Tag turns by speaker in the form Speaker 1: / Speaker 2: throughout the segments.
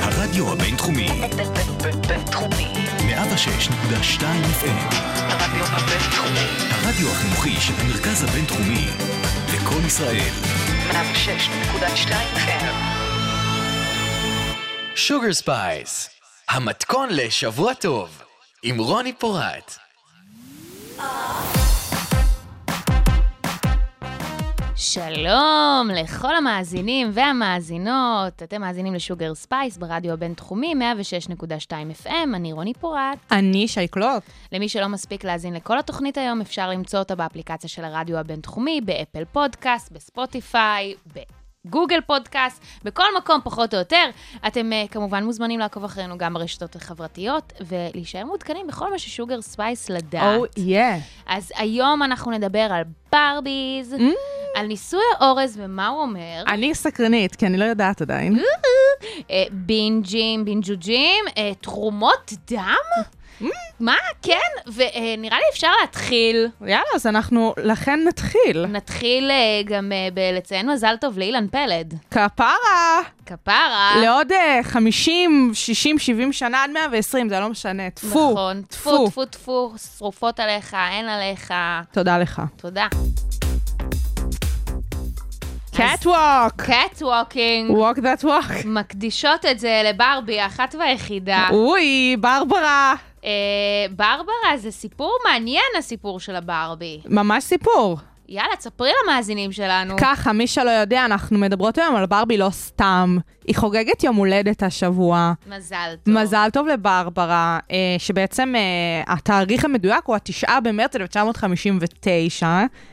Speaker 1: הרדיו הבינתחומי,
Speaker 2: בינתחומי.
Speaker 1: 106.2 FM,
Speaker 2: הרדיו הבינתחומי.
Speaker 1: הרדיו החינוכי של המרכז הבינתחומי, לקום ישראל,
Speaker 2: 106.2 FM.
Speaker 3: שוגר ספייס, המתכון לשבוע טוב, עם רוני פורט.
Speaker 4: שלום לכל המאזינים והמאזינות. אתם מאזינים לשוגר ספייס ברדיו הבינתחומי, 106.2 FM, אני רוני פורט.
Speaker 5: אני שייקלוט.
Speaker 4: למי שלא מספיק להאזין לכל התוכנית היום, אפשר למצוא אותה באפליקציה של הרדיו הבינתחומי, באפל פודקאסט, בספוטיפיי, בגוגל פודקאסט, בכל מקום פחות או יותר. אתם אה, כמובן מוזמנים לעקוב אחרינו גם ברשתות החברתיות, ולהישאר מעודכנים בכל מה ששוגר ספייס לדעת.
Speaker 5: או, יא.
Speaker 4: אז היום אנחנו נדבר על ברביז, על ניסוי האורז ומה הוא אומר,
Speaker 5: אני סקרנית, כי אני לא יודעת עדיין.
Speaker 4: אה, בינג'ים, בינג'וג'ים, אה, תרומות דם? מה? כן? ונראה לי אפשר להתחיל.
Speaker 5: יאללה, אז אנחנו לכן נתחיל.
Speaker 4: נתחיל אה, גם אה, בלציין מזל טוב לאילן פלד.
Speaker 5: כפרה!
Speaker 4: כפרה.
Speaker 5: לעוד אה, 50, 60, 70 שנה עד 120, זה לא משנה. טפו.
Speaker 4: נכון. טפו, טפו, טפו, שרופות עליך, אין עליך.
Speaker 5: תודה לך.
Speaker 4: תודה.
Speaker 5: קטווק!
Speaker 4: כן. קטווקינג.
Speaker 5: walk that walk.
Speaker 4: מקדישות את זה לברבי, האחת והיחידה.
Speaker 5: Mm. אוי, ברברה.
Speaker 4: אה, ברברה, זה סיפור מעניין, הסיפור של הברבי.
Speaker 5: ממש סיפור.
Speaker 4: יאללה, תספרי למאזינים שלנו.
Speaker 5: ככה, מי שלא יודע, אנחנו מדברות היום על ברבי לא סתם. היא חוגגת יום הולדת השבוע.
Speaker 4: מזל טוב.
Speaker 5: מזל טוב לברברה, אה, שבעצם אה, התאריך המדויק הוא התשעה במרץ 1959,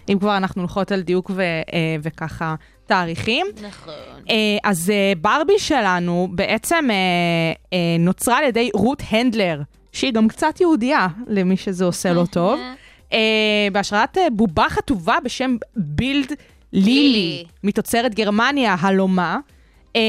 Speaker 5: אם כבר אנחנו הולכות על דיוק ו, אה, וככה תאריכים.
Speaker 4: נכון.
Speaker 5: אה, אז אה, ברבי שלנו בעצם אה, אה, נוצרה על ידי רות הנדלר, שהיא גם קצת יהודייה, למי שזה עושה לא טוב, אה, בהשראת אה, בובה חטובה בשם בילד
Speaker 4: לילי.
Speaker 5: לילי, מתוצרת גרמניה, הלומה. אה,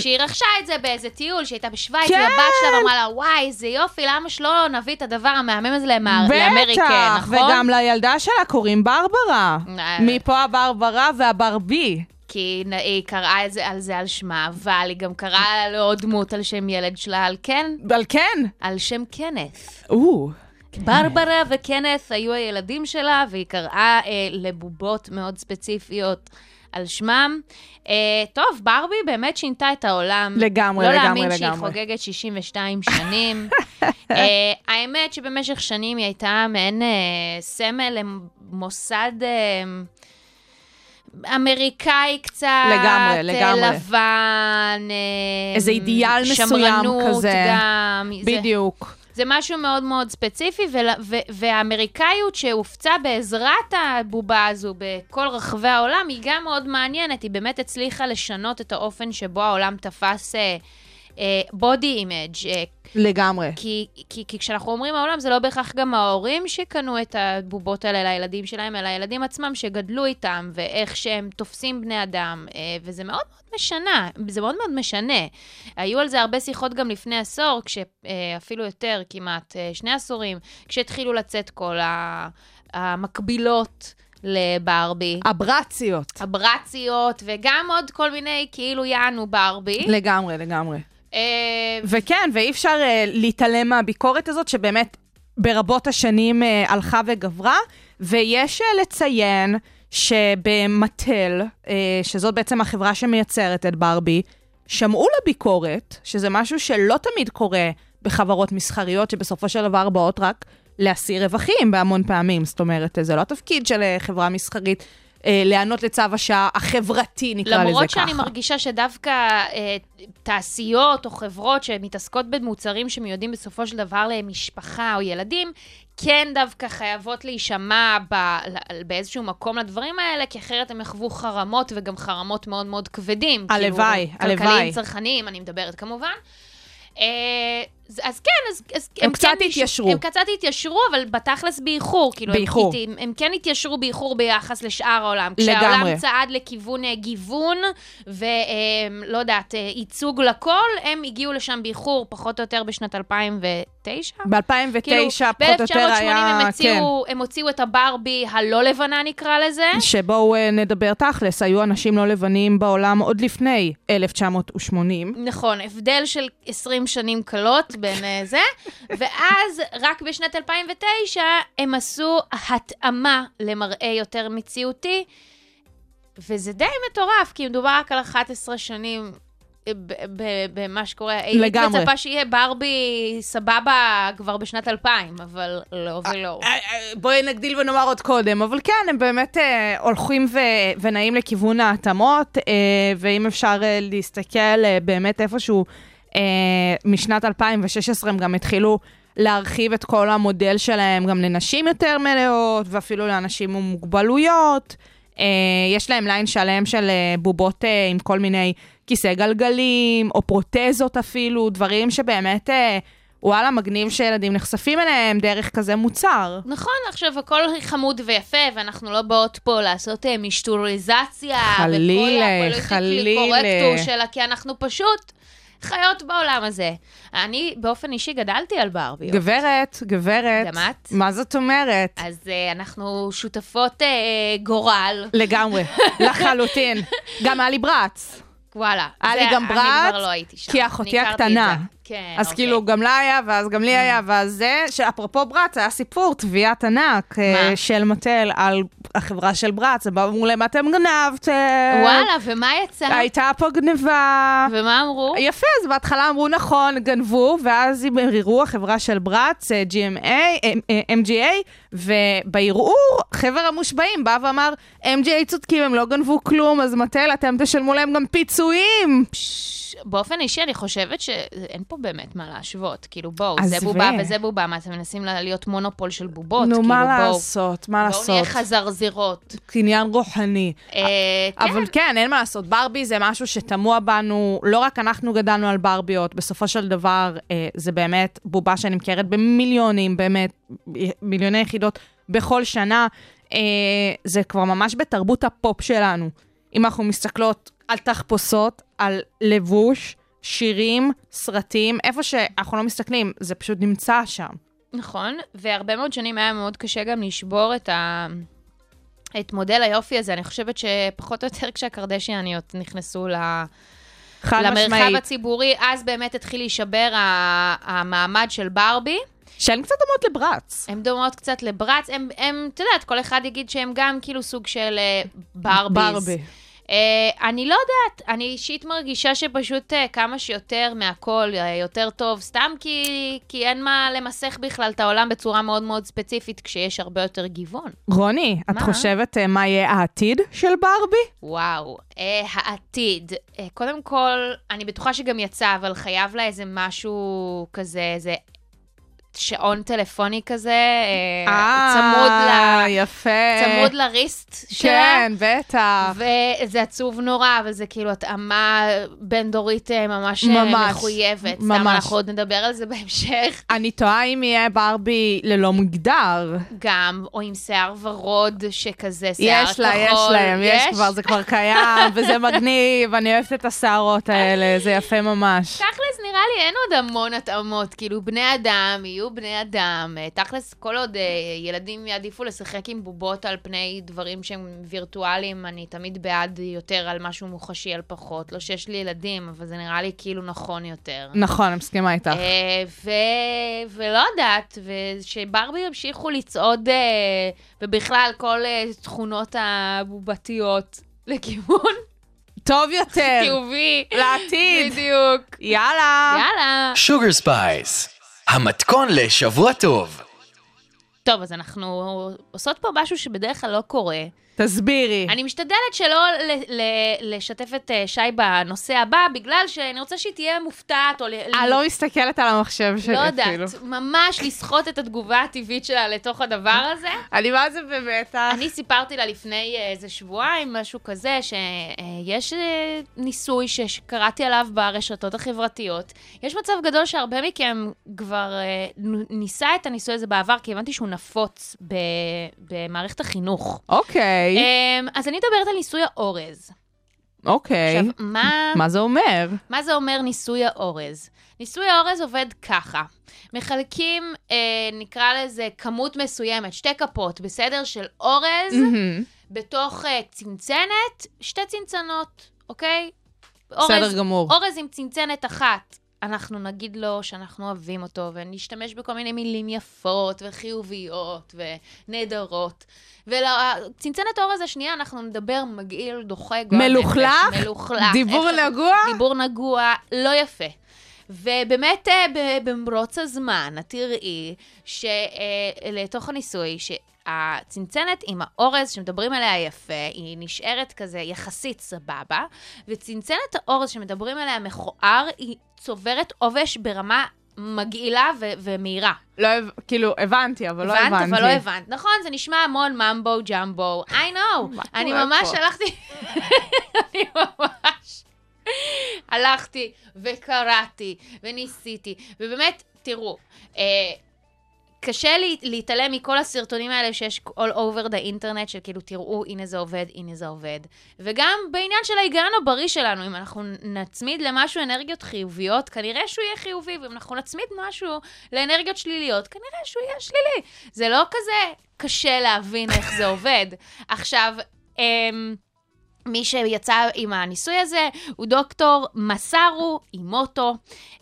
Speaker 4: שהיא רכשה את זה באיזה טיול, שהייתה בשוויץ,
Speaker 5: כן.
Speaker 4: והבת שלה ואמרה לה, וואי, איזה יופי, למה שלא נביא את הדבר המהמם הזה למאר- לאמריקה, נכון?
Speaker 5: וגם לילדה שלה קוראים ברברה.
Speaker 4: אה.
Speaker 5: מפה הברברה והברבי.
Speaker 4: כי נ- היא קראה את זה- על זה על שמה, אבל היא גם קראה לעוד דמות על שם ילד שלה, על כן,
Speaker 5: על כן.
Speaker 4: על שם כנס.
Speaker 5: או,
Speaker 4: ברברה וכנס היו הילדים שלה, והיא קראה אה, לבובות מאוד ספציפיות. על שמם. אה, טוב, ברבי באמת שינתה את העולם.
Speaker 5: לגמרי,
Speaker 4: לא
Speaker 5: לגמרי,
Speaker 4: להאמין שהיא
Speaker 5: לגמרי.
Speaker 4: חוגגת 62 שנים. אה, האמת שבמשך שנים היא הייתה מעין אה, סמל למוסד אה, אמריקאי קצת. אה,
Speaker 5: לגמרי, לגמרי.
Speaker 4: לבן. אה,
Speaker 5: איזה אידיאל מסוים
Speaker 4: שמרנות
Speaker 5: כזה.
Speaker 4: גם. זה-
Speaker 5: בדיוק.
Speaker 4: זה משהו מאוד מאוד ספציפי, ולה, ו, והאמריקאיות שהופצה בעזרת הבובה הזו בכל רחבי העולם, היא גם מאוד מעניינת, היא באמת הצליחה לשנות את האופן שבו העולם תפס אה, אה, body image. אה,
Speaker 5: לגמרי.
Speaker 4: כי, כי, כי כשאנחנו אומרים העולם, זה לא בהכרח גם ההורים שקנו את הבובות האלה לילדים שלהם, אלא הילדים עצמם שגדלו איתם, ואיך שהם תופסים בני אדם, אה, וזה מאוד מאוד משנה, זה מאוד מאוד משנה. היו על זה הרבה שיחות גם לפני עשור, כש, אה, אפילו יותר, כמעט אה, שני עשורים, כשהתחילו לצאת כל ה- המקבילות לברבי.
Speaker 5: הברציות.
Speaker 4: הברציות, וגם עוד כל מיני, כאילו יענו ברבי.
Speaker 5: לגמרי, לגמרי.
Speaker 4: אה,
Speaker 5: וכן, ואי אפשר אה, להתעלם מהביקורת הזאת, שבאמת ברבות השנים אה, הלכה וגברה, ויש אה, לציין שבמטל, אה, שזאת בעצם החברה שמייצרת את ברבי, שמעו לביקורת, שזה משהו שלא תמיד קורה בחברות מסחריות, שבסופו של דבר באות רק להשיא רווחים בהמון פעמים. זאת אומרת, אה, זה לא התפקיד של אה, חברה מסחרית. אה, להיענות לצו השעה החברתי, נקרא לזה ככה.
Speaker 4: למרות שאני מרגישה שדווקא אה, תעשיות או חברות שמתעסקות במוצרים שמיועדים בסופו של דבר למשפחה או ילדים, כן דווקא חייבות להישמע ב, ל- באיזשהו מקום לדברים האלה, כי אחרת הם יחוו חרמות, וגם חרמות מאוד מאוד כבדים.
Speaker 5: הלוואי,
Speaker 4: כאילו,
Speaker 5: הלוואי.
Speaker 4: כלכליים צרכניים, אני מדברת כמובן. אה, אז- אז כן, אז, אז
Speaker 5: הם קצת
Speaker 4: כן מישהו-
Speaker 5: התיישרו.
Speaker 4: הם קצת התיישרו, אבל בתכלס באיחור. כאילו,
Speaker 5: באיחור.
Speaker 4: הם, הם כן התיישרו באיחור ביחס לשאר העולם.
Speaker 5: לגמרי.
Speaker 4: כשהעולם צעד לכיוון אה, גיוון, ולא יודעת, אה, ייצוג לכל, הם הגיעו לשם באיחור, פחות או יותר בשנת 2009.
Speaker 5: ב-2009
Speaker 4: כאילו,
Speaker 5: פחות או יותר היה...
Speaker 4: הם, הציעו, כן. הם הוציאו את הברבי הלא לבנה, נקרא לזה.
Speaker 5: כן. שבואו אה, נדבר תכלס, היו אנשים לא לבנים בעולם עוד לפני 1980.
Speaker 4: נכון, הבדל של 20 שנים קלות בין אה, זה, ואז רק בשנת 2009 הם עשו התאמה למראה יותר מציאותי, וזה די מטורף, כי מדובר רק על 11 שנים. אה, ב- ב- במה שקורה, הייתי
Speaker 5: לגמרי.
Speaker 4: מצפה שיהיה ברבי סבבה כבר בשנת 2000, אבל לא ולא.
Speaker 5: אה, אה, בואי נגדיל ונאמר עוד קודם, אבל כן, הם באמת אה, הולכים ו- ונעים לכיוון ההתאמות, אה, ואם אפשר אה, להסתכל אה, באמת איפשהו, אה, משנת 2016 הם גם התחילו להרחיב את כל המודל שלהם גם לנשים יותר מלאות, ואפילו לאנשים עם מוגבלויות. אה, יש להם ליין שלם של אה, בובות אה, עם כל מיני כיסא גלגלים, או פרוטזות אפילו, דברים שבאמת... אה, וואלה, מגניב שילדים נחשפים אליהם דרך כזה מוצר.
Speaker 4: נכון, עכשיו הכל חמוד ויפה, ואנחנו לא באות פה לעשות אה, משטוריזציה.
Speaker 5: חלילה,
Speaker 4: וכל
Speaker 5: חלילה.
Speaker 4: קורקטו שלה, כי אנחנו פשוט חיות בעולם הזה. אני באופן אישי גדלתי על ברביות.
Speaker 5: גברת, גברת.
Speaker 4: גם את?
Speaker 5: מה זאת אומרת?
Speaker 4: אז אה, אנחנו שותפות אה, גורל.
Speaker 5: לגמרי, לחלוטין. גם היה לי ברץ.
Speaker 4: וואלה.
Speaker 5: היה אה, לי
Speaker 4: זה-
Speaker 5: גם
Speaker 4: אני
Speaker 5: ברץ,
Speaker 4: כבר לא הייתי שם.
Speaker 5: כי אחותי
Speaker 4: אני הכרתי את
Speaker 5: הקטנה.
Speaker 4: זה. כן,
Speaker 5: אז
Speaker 4: אוקיי. Mm.
Speaker 5: כאילו, גם לה היה, ואז גם לי היה, ואז זה, שאפרופו ברץ, היה סיפור, תביעת ענק אה,
Speaker 4: מה?
Speaker 5: של מטל על החברה של ברץ, הם באו ואמרו להם, אתם גנבתם.
Speaker 4: וואלה, ומה יצא?
Speaker 5: הייתה פה גניבה.
Speaker 4: ומה אמרו?
Speaker 5: יפה, אז בהתחלה אמרו נכון, גנבו, ואז הם ערערו, החברה של ברץ, אה, GMA, אה, אה, MGA, ובערעור, חבר המושבעים בא ואמר, MGA צודקים, הם לא גנבו כלום, אז מטל, אתם תשלמו להם גם פיצויים.
Speaker 4: ש- באופן אישי, אני חושבת שאין פה באמת מה להשוות. כאילו, בואו,
Speaker 5: אז
Speaker 4: זה בובה
Speaker 5: ו-
Speaker 4: וזה בובה, מה, אתם מנסים לה- להיות מונופול של בובות?
Speaker 5: נו,
Speaker 4: כאילו,
Speaker 5: מה
Speaker 4: בואו,
Speaker 5: לעשות, מה
Speaker 4: בואו
Speaker 5: לעשות?
Speaker 4: נהיה חזרזירות.
Speaker 5: קניין רוחני.
Speaker 4: אה, כן,
Speaker 5: אבל כן, אין מה לעשות, ברבי זה משהו שתמוה בנו, לא רק אנחנו גדלנו על ברביות, בסופו של דבר אה, זה באמת בובה שנמכרת במיליונים, באמת, מיליוני יחידות בכל שנה. אה, זה כבר ממש בתרבות הפופ שלנו. אם אנחנו מסתכלות על תחפושות, על לבוש, שירים, סרטים, איפה שאנחנו לא מסתכלים, זה פשוט נמצא שם.
Speaker 4: נכון, והרבה מאוד שנים היה מאוד קשה גם לשבור את ה... את מודל היופי הזה, אני חושבת שפחות או יותר כשהקרדשיאניות נכנסו ל...
Speaker 5: חד
Speaker 4: למרחב
Speaker 5: משמעית.
Speaker 4: הציבורי, אז באמת התחיל להישבר ה... המעמד של ברבי.
Speaker 5: שהן קצת דומות לברץ.
Speaker 4: הן דומות קצת לברץ, הם, הם, את יודעת, כל אחד יגיד שהם גם כאילו סוג של אה, ברביז. ברבי. Uh, אני לא יודעת, אני אישית מרגישה שפשוט uh, כמה שיותר מהכל uh, יותר טוב, סתם כי, כי אין מה למסך בכלל את העולם בצורה מאוד מאוד ספציפית, כשיש הרבה יותר גיוון.
Speaker 5: רוני, את
Speaker 4: מה?
Speaker 5: חושבת אה, מה יהיה העתיד של ברבי?
Speaker 4: וואו, uh, העתיד. Uh, קודם כל, אני בטוחה שגם יצא, אבל חייב לה איזה משהו כזה, איזה שעון טלפוני כזה, uh, צמוד, ל,
Speaker 5: אה, יפה.
Speaker 4: צמוד לריסט שלה.
Speaker 5: אה, כן, בטח.
Speaker 4: וזה עצוב נורא, אבל זה כאילו התאמה בין-דורית אה, ממש,
Speaker 5: ממש,
Speaker 4: ממש מחויבת. ממש.
Speaker 5: ממש.
Speaker 4: סתם, אנחנו עוד נדבר על זה בהמשך.
Speaker 5: אני תוהה אם יהיה ברבי ללא מגדר.
Speaker 4: גם, או עם שיער ורוד, שכזה שיער
Speaker 5: יש
Speaker 4: כחול.
Speaker 5: לה, יש להם, יש כבר, זה כבר קיים, וזה מגניב, אני אוהבת את השערות האלה, זה יפה ממש.
Speaker 4: תכלס, נראה לי אין עוד המון התאמות. כאילו, בני אדם יהיו בני אדם. אה, תכלס, כל עוד אה, ילדים יעדיפו לשחק עם בובות על פני דברים שהם וירטואליים, אני תמיד בעד יותר על משהו מוחשי על פחות. לא שיש לי ילדים, אבל זה נראה לי כאילו נכון יותר.
Speaker 5: נכון, אני מסכימה איתך.
Speaker 4: אה, ו... ולא יודעת, ושברבי ימשיכו לצעוד, אה, ובכלל כל אה, תכונות הבובתיות לכיוון
Speaker 5: טוב יותר,
Speaker 4: חיובי. כאילו,
Speaker 5: לעתיד.
Speaker 4: בדיוק.
Speaker 5: יאללה.
Speaker 4: יאללה.
Speaker 3: שוגר ספייס, המתכון לשבוע טוב.
Speaker 4: טוב, אז אנחנו עושות פה משהו שבדרך כלל לא קורה.
Speaker 5: תסבירי.
Speaker 4: אני משתדלת שלא ל- ל- לשתף את אה, שי בנושא הבא, בגלל שאני רוצה שהיא תהיה מופתעת, או ל...
Speaker 5: אני לא מסתכלת על המחשב שלי
Speaker 4: לא
Speaker 5: אפילו.
Speaker 4: יודעת, ממש לסחוט את התגובה הטבעית שלה לתוך הדבר הזה.
Speaker 5: אני מה זה במתח.
Speaker 4: אני סיפרתי לה לפני אה, איזה שבועיים, משהו כזה, שיש אה, ניסוי שקראתי עליו ברשתות החברתיות. יש מצב גדול שהרבה מכם כבר אה, נו- ניסה את הניסוי הזה בעבר, כי הבנתי שהוא נפוץ ב- במערכת החינוך.
Speaker 5: אוקיי,
Speaker 4: אמ, אז אני מדברת על ניסוי האורז.
Speaker 5: אוקיי.
Speaker 4: עכשיו, מה...
Speaker 5: מה זה אומר?
Speaker 4: מה זה אומר ניסוי האורז? ניסוי האורז עובד ככה. מחלקים, אה, נקרא לזה, כמות מסוימת, שתי כפות, בסדר? של אורז,
Speaker 5: מהמם.
Speaker 4: בתוך אה, צנצנת, שתי צנצנות, אוקיי? אורז,
Speaker 5: בסדר גמור.
Speaker 4: אורז עם צנצנת אחת. אנחנו נגיד לו שאנחנו אוהבים אותו, ונשתמש בכל מיני מילים יפות וחיוביות ונהדרות. ולצנצנת האורז השנייה אנחנו נדבר מגעיל, דוחה, גועל נפש,
Speaker 5: מלוכלך?
Speaker 4: מלוכלך.
Speaker 5: דיבור
Speaker 4: איך-
Speaker 5: נגוע?
Speaker 4: דיבור נגוע, לא יפה. ובאמת, אה, ב- במרוץ הזמן, את תראי שלתוך הניסוי, שהצנצנת עם האורז שמדברים עליה יפה, היא נשארת כזה יחסית סבבה, וצנצנת האורז שמדברים עליה מכוער, היא צוברת עובש ברמה מגעילה ו- ומהירה.
Speaker 5: לא, הב- כאילו, הבנתי, אבל לא
Speaker 4: הבנת,
Speaker 5: הבנתי.
Speaker 4: אבל לא הבנת. נכון, זה נשמע המון ממבו ג'מבו. I know.
Speaker 5: מה
Speaker 4: אני
Speaker 5: קורה
Speaker 4: ממש
Speaker 5: פה?
Speaker 4: הלכתי... אני ממש... הלכתי וקראתי וניסיתי, ובאמת, תראו, אה, קשה לי להתעלם מכל הסרטונים האלה שיש all over the internet, של כאילו, תראו, הנה זה עובד, הנה זה עובד. וגם בעניין של ההיגיון הבריא שלנו, אם אנחנו נצמיד למשהו אנרגיות חיוביות, כנראה שהוא יהיה חיובי, ואם אנחנו נצמיד משהו לאנרגיות שליליות, כנראה שהוא יהיה שלילי. זה לא כזה קשה להבין איך זה עובד. עכשיו, אמ, מי שיצא עם הניסוי הזה הוא דוקטור מסארו אימוטו.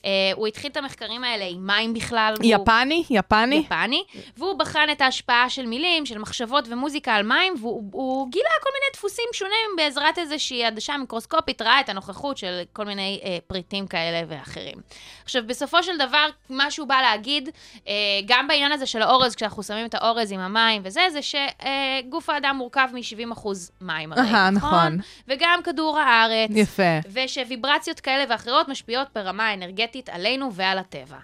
Speaker 4: אה, הוא התחיל את המחקרים האלה עם מים בכלל. הוא-
Speaker 5: יפני? יפני?
Speaker 4: יפני, והוא בחן את ההשפעה של מילים, של מחשבות ומוזיקה על מים, והוא הוא גילה כל מיני דפוסים שונים בעזרת איזושהי עדשה מיקרוסקופית, ראה את הנוכחות של כל מיני אה, פריטים כאלה ואחרים. עכשיו, בסופו של דבר, מה שהוא בא להגיד, אה, גם בעניין הזה של האורז, כשאנחנו שמים את האורז עם המים וזה, זה שגוף האדם מורכב מ-70% מים הרי,
Speaker 5: אהה, נכון.
Speaker 4: וגם כדור הארץ.
Speaker 5: יפה.
Speaker 4: ושוויברציות כאלה ואחרות משפיעות ברמה האנרגטית עלינו ועל הטבע.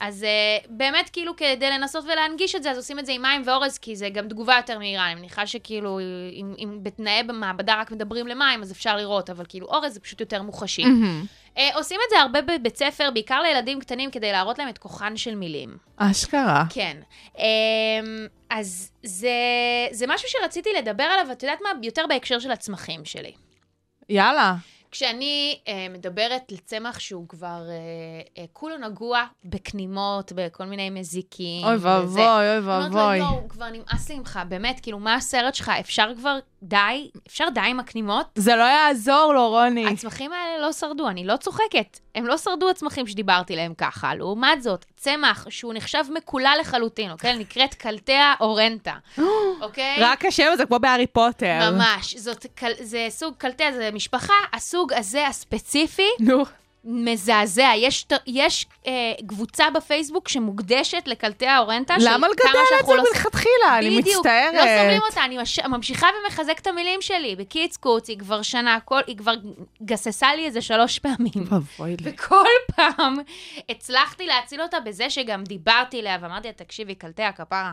Speaker 4: אז uh, באמת, כאילו, כדי לנסות ולהנגיש את זה, אז עושים את זה עם מים ואורז, כי זה גם תגובה יותר מהירה. אני מניחה שכאילו, אם, אם בתנאי במעבדה רק מדברים למים, אז אפשר לראות, אבל כאילו, אורז זה פשוט יותר מוחשי.
Speaker 5: מהמם.
Speaker 4: אה, עושים את זה הרבה בבית ספר, בעיקר לילדים קטנים, כדי להראות להם את כוחן של מילים.
Speaker 5: אשכרה.
Speaker 4: כן. אמ, אז זה, זה משהו שרציתי לדבר עליו, את יודעת מה? יותר בהקשר של הצמחים שלי.
Speaker 5: יאללה.
Speaker 4: כשאני אה, מדברת לצמח שהוא כבר אה, אה, כולו נגוע בקנימות, בכל מיני מזיקים.
Speaker 5: אוי
Speaker 4: כן, וזה.
Speaker 5: ואבוי, אוי
Speaker 4: אני אומרת לו,
Speaker 5: ואבוי.
Speaker 4: לא, הוא כבר נמאס לי ממך, באמת, כאילו, מה הסרט שלך? אפשר כבר די? אפשר די עם הקנימות?
Speaker 5: זה לא יעזור לו, רוני.
Speaker 4: הצמחים האלה לא שרדו, אני לא צוחקת. הם לא שרדו הצמחים שדיברתי להם ככה. לעומת זאת, צמח שהוא נחשב מקולל לחלוטין, אוקיי? נקראת קלטיה אורנטה, אוקיי?
Speaker 5: רק השם הזה כמו בהארי פוטר.
Speaker 4: ממש. זאת, קל- זה סוג קלטיה, זה משפחה. הסוג הזה הספציפי
Speaker 5: נו.
Speaker 4: מזעזע. יש, ת- יש אה, קבוצה בפייסבוק שמוקדשת לקלטי האורנטה. של
Speaker 5: למה
Speaker 4: כמה
Speaker 5: לגדל את
Speaker 4: שאנחנו
Speaker 5: זה
Speaker 4: לא-
Speaker 5: מלכתחילה? אני
Speaker 4: בדיוק, לא שומעים
Speaker 5: מצטערת.
Speaker 4: אותה, אני מש... ממשיכה ומחזקת את המילים שלי. בקיצקוץ, היא כבר שנה, כל... היא כבר גססה לי איזה שלוש פעמים.
Speaker 5: אבוי לי.
Speaker 4: וכל פעם הצלחתי להציל אותה בזה שגם דיברתי אליה ואמרתי לה, תקשיבי, קלטי הכפרה.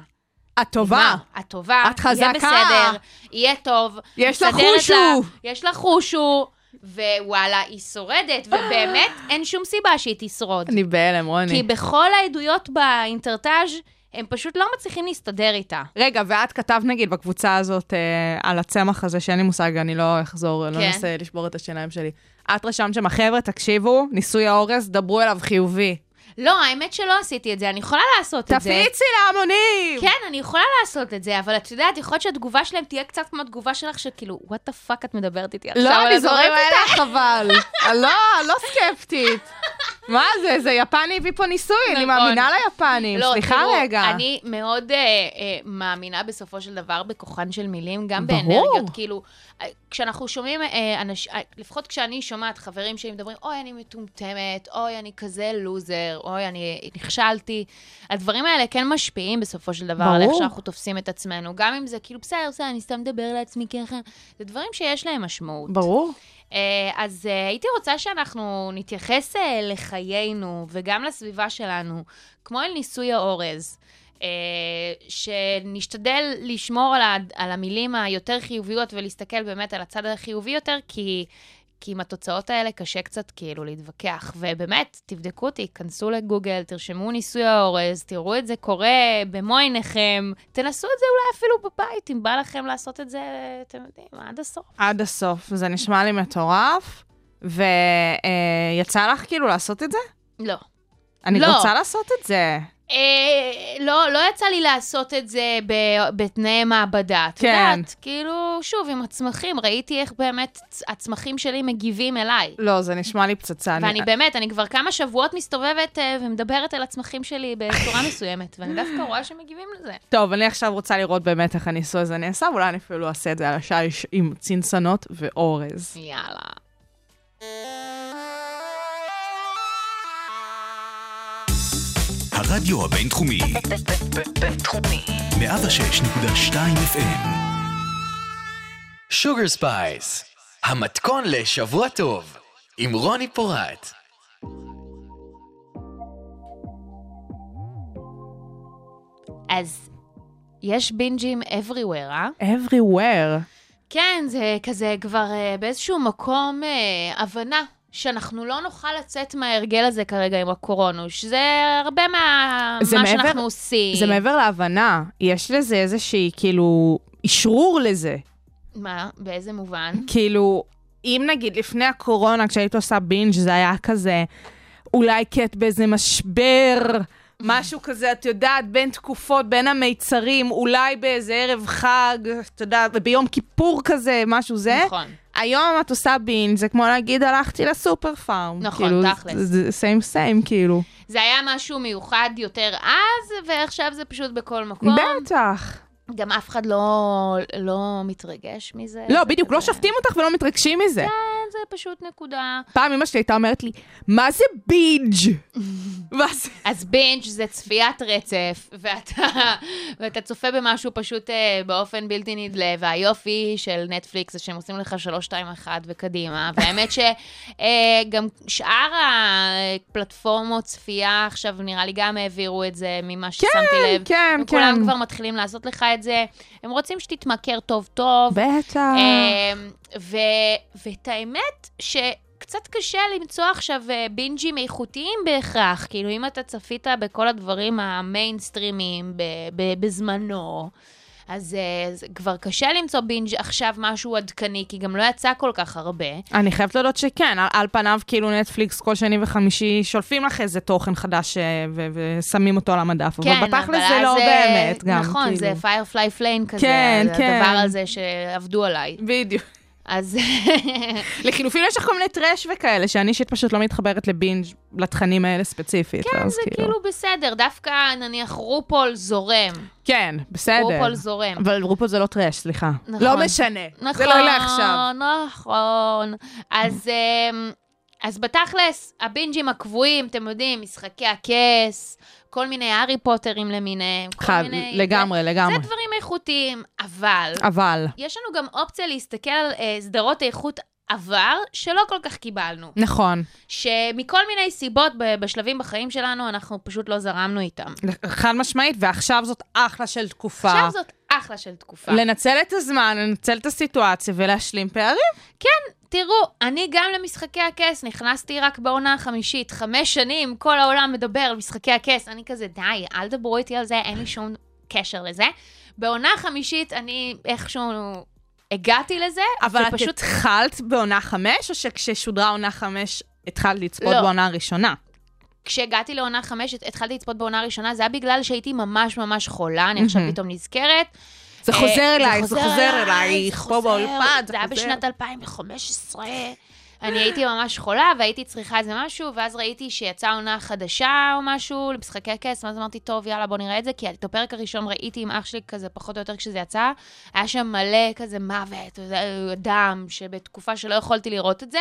Speaker 5: את טובה.
Speaker 4: נגמר. את טובה.
Speaker 5: את חזקה.
Speaker 4: יהיה בסדר, יהיה טוב.
Speaker 5: יש לך
Speaker 4: מסדרת
Speaker 5: חושו.
Speaker 4: לה, יש לך חושו. ווואלה, היא שורדת, ובאמת אין שום סיבה שהיא תשרוד.
Speaker 5: אני בהלם,
Speaker 4: כי
Speaker 5: רוני.
Speaker 4: בכל העדויות באינטרטאז' הם פשוט לא מצליחים להסתדר איתה.
Speaker 5: רגע, ואת כתבת נגיד בקבוצה הזאת אה, על הצמח הזה, שאין לי מושג, אני לא אחזור, לא
Speaker 4: כן.
Speaker 5: אנסה לשבור את השיניים שלי. את רשמת שם, חבר'ה, תקשיבו, ניסוי האורז, דברו אליו חיובי.
Speaker 4: לא, האמת שלא עשיתי את זה, אני יכולה לעשות את זה.
Speaker 5: תפיצי להמונים!
Speaker 4: כן, אני יכולה לעשות את זה, אבל את יודעת, יכול להיות שהתגובה שלהם תהיה קצת כמו התגובה שלך, שכאילו, וואט דה פאק את מדברת איתי עכשיו
Speaker 5: לא,
Speaker 4: על
Speaker 5: אני
Speaker 4: הדברים
Speaker 5: זורמת
Speaker 4: האלה?"
Speaker 5: עליך אבל. לא, לא אה, סקפטית. מה זה, זה יפני הביא פה ניסוי, אני
Speaker 4: נכון.
Speaker 5: מאמינה ליפנים.
Speaker 4: לא,
Speaker 5: סליחה
Speaker 4: תראו,
Speaker 5: רגע.
Speaker 4: אני מאוד אה, אה, מאמינה בסופו של דבר בכוחן של מילים, גם
Speaker 5: ברור.
Speaker 4: באנרגיות, כאילו, אה, כשאנחנו שומעים, אה, אנש, אה, לפחות כשאני שומעת חברים שלי מדברים, אוי, אני מטומטמת, אוי, אני כזה לוזר, אוי, אני נכשלתי, הדברים האלה כן משפיעים בסופו של דבר, על איך
Speaker 5: ברור.
Speaker 4: שאנחנו תופסים את עצמנו, גם אם זה כאילו, בסדר, בסדר, אני סתם מדבר לעצמי ככה, זה דברים שיש להם משמעות.
Speaker 5: ברור.
Speaker 4: אה, אז אה, הייתי רוצה שאנחנו נתייחס אה, לחיינו וגם לסביבה שלנו, כמו אל ניסוי האורז. אה, שנשתדל לשמור על, ה, על המילים היותר חיוביות ולהסתכל באמת על הצד החיובי יותר, כי, כי עם התוצאות האלה קשה קצת כאילו להתווכח. ובאמת, תבדקו אותי, כנסו לגוגל, תרשמו ניסוי האורז, תראו את זה קורה במו עיניכם, תנסו את זה אולי אפילו בבית, אם בא לכם לעשות את זה, אתם יודעים, עד הסוף.
Speaker 5: עד הסוף, זה נשמע לי מטורף, ויצא לך כאילו לעשות את זה?
Speaker 4: לא.
Speaker 5: אני
Speaker 4: לא.
Speaker 5: רוצה לעשות את זה.
Speaker 4: אה, לא, לא יצא לי לעשות את זה ב, בתנאי מעבדה. את
Speaker 5: כן.
Speaker 4: יודעת, כאילו, שוב, עם הצמחים, ראיתי איך באמת צ- הצמחים שלי מגיבים אליי.
Speaker 5: לא, זה נשמע לי פצצה. אני-
Speaker 4: ואני באמת, אני כבר כמה שבועות מסתובבת אה, ומדברת אל הצמחים שלי בצורה מסוימת, ואני דווקא רואה שמגיבים לזה.
Speaker 5: טוב, אני עכשיו רוצה לראות באמת איך הניסוי הזה נעשה, ואולי אני אפילו אעשה את זה על השיש עם צנצנות ואורז.
Speaker 4: יאללה.
Speaker 1: הרדיו הבינתחומי,
Speaker 2: בינתחומי.
Speaker 1: 106.2 FM,
Speaker 3: שוגר ספייס, המתכון לשבוע טוב, עם רוני פורט.
Speaker 4: אז יש בינג'ים everywhere, אה?
Speaker 5: everywhere.
Speaker 4: כן, זה כזה כבר אה, באיזשהו מקום אה, הבנה. שאנחנו לא נוכל לצאת מההרגל הזה כרגע עם הקורונה, שזה הרבה מה,
Speaker 5: זה
Speaker 4: מה
Speaker 5: מעבר-
Speaker 4: שאנחנו עושים.
Speaker 5: זה מעבר להבנה, יש לזה איזושהי, כאילו, אשרור לזה.
Speaker 4: מה? באיזה מובן?
Speaker 5: כאילו, אם נגיד לפני הקורונה, כשהיית עושה בינג' זה היה כזה, אולי כי את באיזה משבר, משהו כזה, את יודעת, בין תקופות, בין המיצרים, אולי באיזה ערב חג, את יודעת, וביום כיפור כזה, משהו זה.
Speaker 4: נכון.
Speaker 5: היום את עושה בינג', זה כמו להגיד, הלכתי לסופר פארם.
Speaker 4: נכון,
Speaker 5: כאילו,
Speaker 4: תכלס.
Speaker 5: זה סיים סיים, כאילו.
Speaker 4: זה היה משהו מיוחד יותר אז, ועכשיו זה פשוט בכל מקום.
Speaker 5: בטח.
Speaker 4: גם אף אחד לא, לא מתרגש מזה.
Speaker 5: לא,
Speaker 4: זה
Speaker 5: בדיוק, לא
Speaker 4: כזה-
Speaker 5: שופטים אותך ולא מתרגשים מזה.
Speaker 4: זה פשוט נקודה.
Speaker 5: פעם אמא שלי הייתה אומרת לי, מה זה בינג'? מה זה?
Speaker 4: אז בינג' זה צפיית רצף, ואתה, ואתה צופה במשהו פשוט אה, באופן בלתי נדלה, והיופי של נטפליקס זה שהם עושים לך שלוש, שתיים, אחת וקדימה. והאמת שגם שאר הפלטפורמות צפייה עכשיו, נראה לי גם העבירו את זה ממה ששמתי לב.
Speaker 5: כן,
Speaker 4: הם
Speaker 5: כן.
Speaker 4: כולם כבר מתחילים לעשות לך את זה. הם רוצים שתתמכר טוב-טוב.
Speaker 5: בטח.
Speaker 4: אמ, ו- ואת האמת שקצת קשה למצוא עכשיו אה, בינג'ים איכותיים בהכרח. כאילו, אם אתה צפית בכל הדברים המיינסטרימיים ב- ב- בזמנו, אז אה, זה כבר קשה למצוא בינג' עכשיו משהו עדכני, כי גם לא יצא כל כך הרבה.
Speaker 5: אני חייבת להודות שכן, על, על פניו כאילו נטפליקס כל שני וחמישי שולפים לך איזה תוכן חדש אה, ו- ושמים אותו על המדף, אבל בתכלס זה
Speaker 4: אז, אה,
Speaker 5: לא באמת גם,
Speaker 4: נכון,
Speaker 5: כאילו.
Speaker 4: זה פיירפליי פליין כזה,
Speaker 5: כן, כן.
Speaker 4: הדבר הזה שעבדו עליי.
Speaker 5: בדיוק.
Speaker 4: אז...
Speaker 5: לחילופין יש לך כל מיני טרש וכאלה, שאני אישית פשוט לא מתחברת לבינג' לתכנים האלה ספציפית.
Speaker 4: כן,
Speaker 5: אז
Speaker 4: זה כאילו בסדר, דווקא נניח רופול זורם.
Speaker 5: כן, בסדר.
Speaker 4: רופול זורם.
Speaker 5: אבל רופול זה לא טרש, סליחה.
Speaker 4: נכון.
Speaker 5: לא משנה.
Speaker 4: נכון,
Speaker 5: זה לא עולה עכשיו.
Speaker 4: נכון. אז, אמ, אז בתכלס, הבינג'ים הקבועים, אתם יודעים, משחקי הכס, כל מיני הארי פוטרים למיניהם. נכון, כל
Speaker 5: חד,
Speaker 4: מיני-
Speaker 5: לגמרי, לגמרי.
Speaker 4: זה דברים איכותיים, אבל
Speaker 5: אבל.
Speaker 4: יש לנו גם אופציה להסתכל על אה, סדרות איכות עבר שלא כל כך קיבלנו.
Speaker 5: נכון.
Speaker 4: שמכל מיני סיבות ב- בשלבים בחיים שלנו, אנחנו פשוט לא זרמנו איתם.
Speaker 5: חד משמעית, ועכשיו זאת אחלה של תקופה.
Speaker 4: עכשיו זאת אחלה של תקופה.
Speaker 5: לנצל את הזמן, לנצל את הסיטואציה ולהשלים פערים.
Speaker 4: תראו, אני גם למשחקי הכס נכנסתי רק בעונה החמישית. חמש שנים כל העולם מדבר על משחקי הכס. אני כזה, די, אל דברו איתי על זה, אין לי שום קשר לזה. בעונה החמישית אני איכשהו הגעתי לזה,
Speaker 5: אבל את
Speaker 4: ופשוט...
Speaker 5: התחלת בעונה חמש, או שכששודרה עונה חמש התחלת לצפות
Speaker 4: לא.
Speaker 5: בעונה הראשונה?
Speaker 4: כשהגעתי לעונה חמש, הת- התחלתי לצפות בעונה הראשונה, זה היה בגלל שהייתי ממש ממש חולה, אני עכשיו פתאום נזכרת.
Speaker 5: זה
Speaker 4: אה,
Speaker 5: חוזר אלייך, זה
Speaker 4: זה
Speaker 5: חוזר אלייך,
Speaker 4: זה
Speaker 5: פה
Speaker 4: חוזר,
Speaker 5: באולפן,
Speaker 4: זה היה
Speaker 5: חוזר.
Speaker 4: בשנת 2015, אני הייתי ממש חולה והייתי צריכה איזה משהו, ואז ראיתי שיצאה עונה חדשה או משהו למשחקי כס, ואז אמרתי, טוב, יאללה, בוא נראה את זה, כי את הפרק הראשון ראיתי עם אח שלי כזה, פחות או יותר כשזה יצא, היה שם מלא כזה מוות, וזה- דם, שבתקופה שלא יכולתי לראות את זה.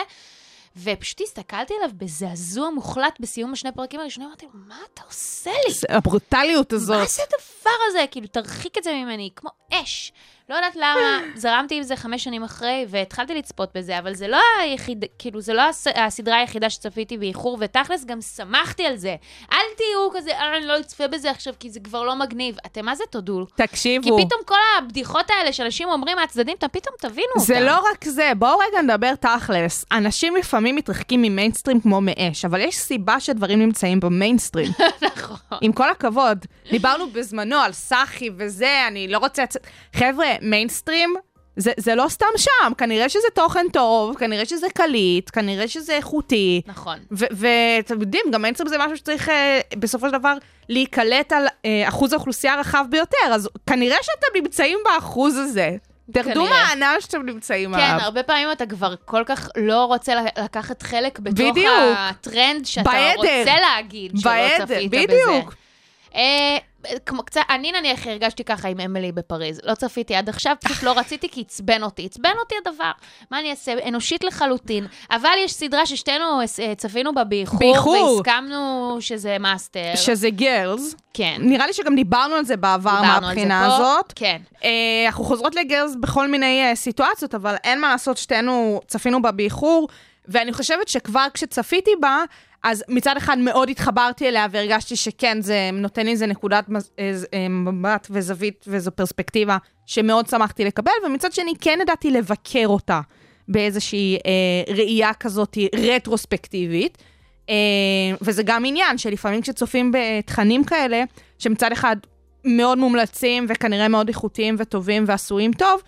Speaker 4: ופשוט הסתכלתי עליו בזעזוע מוחלט בסיום השני פרקים הראשונים, אמרתי לו, מה אתה עושה לי?
Speaker 5: הברוטליות
Speaker 4: מה
Speaker 5: הזאת.
Speaker 4: זה הדבר הזה? כאילו, תרחיק את זה ממני, כמו אש. לא יודעת למה, זרמתי עם זה חמש שנים אחרי, והתחלתי לצפות בזה, אבל זה לא היחיד, כאילו, זה לא הס, הסדרה היחידה שצפיתי באיחור, ותכלס גם שמחתי על זה. אל תהיו כזה, "אה, אני לא אצפה בזה עכשיו, כי זה כבר לא מגניב. אתם מה זה תודו? כי
Speaker 5: תקשיבו.
Speaker 4: פתאום כל הבדיחות האלה שאנשים אומרים מהצדדים, אתם פתאום תבינו אותם.
Speaker 5: זה לא רק זה, בואו רגע נדבר תכלס. אנשים לפעמים מתרחקים ממיינסטרים כמו מאש, אבל יש סיבה שדברים נמצאים במיינסטרים.
Speaker 4: נכון.
Speaker 5: עם כל הכבוד, דיברנו בזמנו על סאחי וזה, אני לא רוצה... לצאת- חבר'ה, מיינסטרים, זה, זה לא סתם שם, כנראה שזה תוכן טוב, כנראה שזה קליט, כנראה שזה איכותי.
Speaker 4: נכון.
Speaker 5: ו- ואתם יודעים, גם מיינסטרים זה משהו שצריך אה, בסופו של דבר להיקלט על אה, אחוז האוכלוסייה הרחב ביותר, אז כנראה שאתם נמצאים באחוז הזה. תרדו
Speaker 4: כנראה.
Speaker 5: מהענן שאתם נמצאים
Speaker 4: כן,
Speaker 5: עליו.
Speaker 4: הרבה פעמים אתה כבר כל כך לא רוצה ל- לקחת חלק בתוך
Speaker 5: בדיוק.
Speaker 4: הטרנד שאתה
Speaker 5: בעדר.
Speaker 4: רוצה להגיד שלא
Speaker 5: בעדר,
Speaker 4: צפית בזה.
Speaker 5: בדיוק.
Speaker 4: אה, כמו קצת, אני נניח הרגשתי ככה עם אמילי בפריז. לא צפיתי עד עכשיו, פשוט לא רציתי כי עצבן אותי. עצבן אותי הדבר. מה אני אעשה? אנושית לחלוטין. אבל יש סדרה ששתינו אה, צפינו בה באיחור,
Speaker 5: באיחור.
Speaker 4: והסכמנו שזה מאסטר.
Speaker 5: שזה גרלס,
Speaker 4: כן.
Speaker 5: נראה לי שגם דיברנו על זה בעבר
Speaker 4: דיברנו על זה
Speaker 5: מהבחינה
Speaker 4: פה.
Speaker 5: הזאת.
Speaker 4: כן.
Speaker 5: אה, אנחנו חוזרות לגרס בכל מיני אה, סיטואציות, אבל אין מה לעשות, שתינו צפינו בה באיחור, ואני חושבת שכבר כשצפיתי בה, אז מצד אחד מאוד התחברתי אליה והרגשתי שכן, זה נותן לי איזה נקודת מז- אה, ז- אה, מבט וזווית וזו פרספקטיבה שמאוד שמחתי לקבל, ומצד שני כן ידעתי לבקר אותה באיזושהי אה, ראייה כזאת רטרוספקטיבית. אה, וזה גם עניין שלפעמים כשצופים בתכנים כאלה, שמצד אחד מאוד מומלצים וכנראה מאוד איכותיים וטובים ועשויים טוב,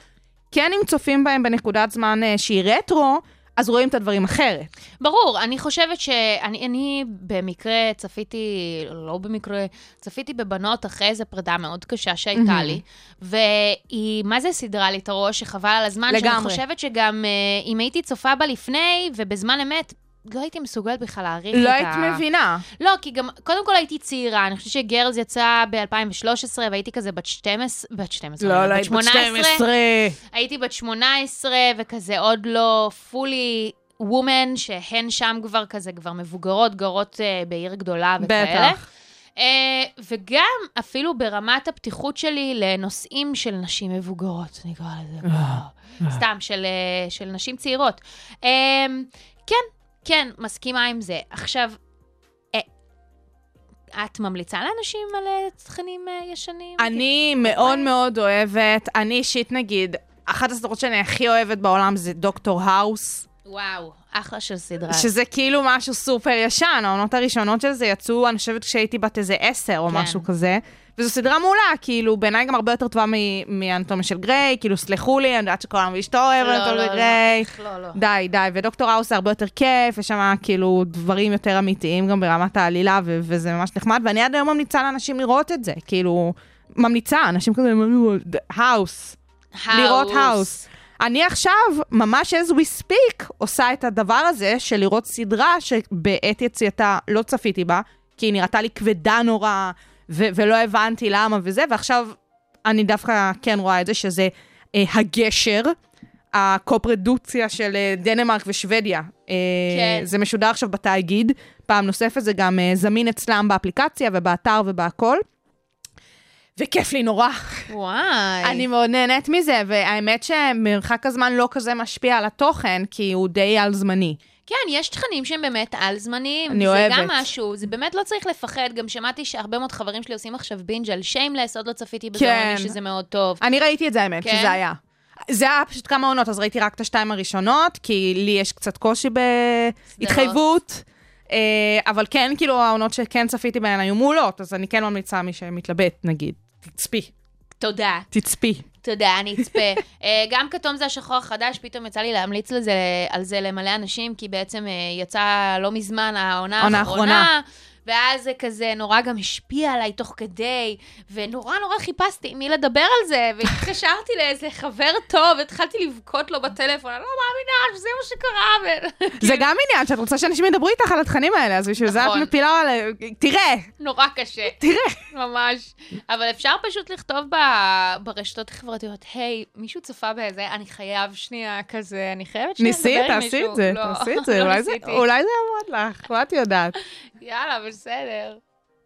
Speaker 5: כן אם צופים בהם בנקודת זמן אה, שהיא רטרו, אז רואים את הדברים אחרת.
Speaker 4: ברור, אני חושבת שאני אני במקרה צפיתי, לא במקרה, צפיתי בבנות אחרי איזו פרידה מאוד קשה שהייתה לי, והיא, מה זה סידרה לי את הראש, שחבל על הזמן, שאני
Speaker 5: לגמרי.
Speaker 4: חושבת שגם אה, אם הייתי צופה בה לפני ובזמן אמת, לא הייתי מסוגלת בכלל להעריך כן, את
Speaker 5: לא
Speaker 4: ה...
Speaker 5: היית מבינה.
Speaker 4: לא, כי גם, קודם כל הייתי צעירה, אני חושבת שגרלס יצא ב-2013 והייתי כזה בת 12, בת 12,
Speaker 5: לא היית בת 12.
Speaker 4: הייתי בת 18, וכזה עוד לא פולי וומן, שהן שם כבר כזה, כבר מבוגרות, גרות uh, בעיר גדולה וכאלה.
Speaker 5: בטח.
Speaker 4: Uh, וגם אפילו ברמת הפתיחות שלי לנושאים של נשים מבוגרות, נקרא
Speaker 5: אה,
Speaker 4: לזה. סתם, של, uh, של נשים צעירות. Um, כן, כן, מסכימה עם זה. עכשיו, אה, את ממליצה לאנשים על אה, תכנים אה, ישנים?
Speaker 5: אני
Speaker 4: אוקיי.
Speaker 5: מאוד מאוד אוהבת, אני אישית נגיד, אחת הסדרות שאני הכי אוהבת בעולם זה דוקטור האוס,
Speaker 4: וואו, אחלה של סדרה.
Speaker 5: שזה כאילו משהו סופר ישן, העונות הראשונות של זה יצאו, אני חושבת כשהייתי בת איזה עשר או
Speaker 4: כן.
Speaker 5: משהו כזה, וזו סדרה מעולה, כאילו בעיניי גם הרבה יותר טובה מ- מאנטומיה של גריי, כאילו סלחו לי, אני יודעת שכל העם ואשתו אוהב
Speaker 4: לא,
Speaker 5: אנטומיה
Speaker 4: לא,
Speaker 5: של
Speaker 4: לא,
Speaker 5: גריי.
Speaker 4: איך לא, לא.
Speaker 5: די, די, ודוקטור האוס זה הרבה יותר כיף, יש שם כאילו דברים יותר אמיתיים גם ברמת העלילה, ו- וזה ממש נחמד, ואני עד היום ממליצה לאנשים לראות את זה, כאילו, ממליצה, אנשים כזה, האוס, לראות האוס. אני עכשיו, ממש as we speak, עושה את הדבר הזה של לראות סדרה שבעת יציאתה לא צפיתי בה, כי היא נראתה לי כבדה נורא, ו- ולא הבנתי למה וזה, ועכשיו אני דווקא כן רואה את זה, שזה אה, הגשר, הקופרדוציה של אה, דנמרק ושוודיה. אה,
Speaker 4: כן.
Speaker 5: זה משודר עכשיו בתאגיד, פעם נוספת, זה גם אה, זמין אצלם באפליקציה ובאתר ובהכל. וכיף לי נורא.
Speaker 4: וואי.
Speaker 5: אני מאוד נהנית מזה, והאמת שמרחק הזמן לא כזה משפיע על התוכן, כי הוא די על זמני.
Speaker 4: כן, יש תכנים שהם באמת על-זמניים.
Speaker 5: אני
Speaker 4: זה
Speaker 5: אוהבת.
Speaker 4: גם משהו, זה באמת לא צריך לפחד. גם שמעתי שהרבה מאוד חברים שלי עושים עכשיו בינג' על שיימלס, עוד לא צפיתי בזה,
Speaker 5: כן.
Speaker 4: אומרים לי שזה מאוד טוב.
Speaker 5: אני ראיתי את זה, האמת,
Speaker 4: כן?
Speaker 5: שזה היה. זה היה פשוט כמה עונות, אז ראיתי רק את השתיים הראשונות, כי לי יש קצת קושי בהתחייבות. אה, אבל כן, כאילו, העונות שכן צפיתי בהן היו מעולות, אז אני כן ממליצה מי שמתלבט, נגיד. תצפי,
Speaker 4: תודה,
Speaker 5: תצפי.
Speaker 4: תודה, אני אצפה. אה, גם כתום זה השחור החדש, פתאום יצא לי להמליץ לזה, על זה למלא אנשים, כי בעצם אה, יצא לא מזמן העונה
Speaker 5: עונה
Speaker 4: האחרונה.
Speaker 5: האחרונה.
Speaker 4: ואז זה כזה נורא גם השפיע עליי תוך כדי, ונורא נורא חיפשתי עם מי לדבר על זה, והתקשרתי לאיזה חבר טוב, התחלתי לבכות לו בטלפון, אני לא מאמינה שזה מה שקרה, ו...
Speaker 5: זה גם עניין שאת רוצה שאנשים ידברו איתך על התכנים האלה, אז בשביל זה את
Speaker 4: נכון.
Speaker 5: מפילה על... תראה,
Speaker 4: נורא קשה.
Speaker 5: תראה.
Speaker 4: ממש. אבל אפשר פשוט לכתוב ב... ברשתות החברתיות, היי, מישהו צפה באיזה, אני חייב שנייה כזה, אני חייבת שנייה לדבר
Speaker 5: ניסית,
Speaker 4: עם מישהו.
Speaker 5: תעשי את זה,
Speaker 4: לא,
Speaker 5: תעשי את זה,
Speaker 4: לא
Speaker 5: אולי זה-
Speaker 4: ניסיתי.
Speaker 5: אולי זה יעמוד לך, מה את יודעת?
Speaker 4: יאללה, בסדר.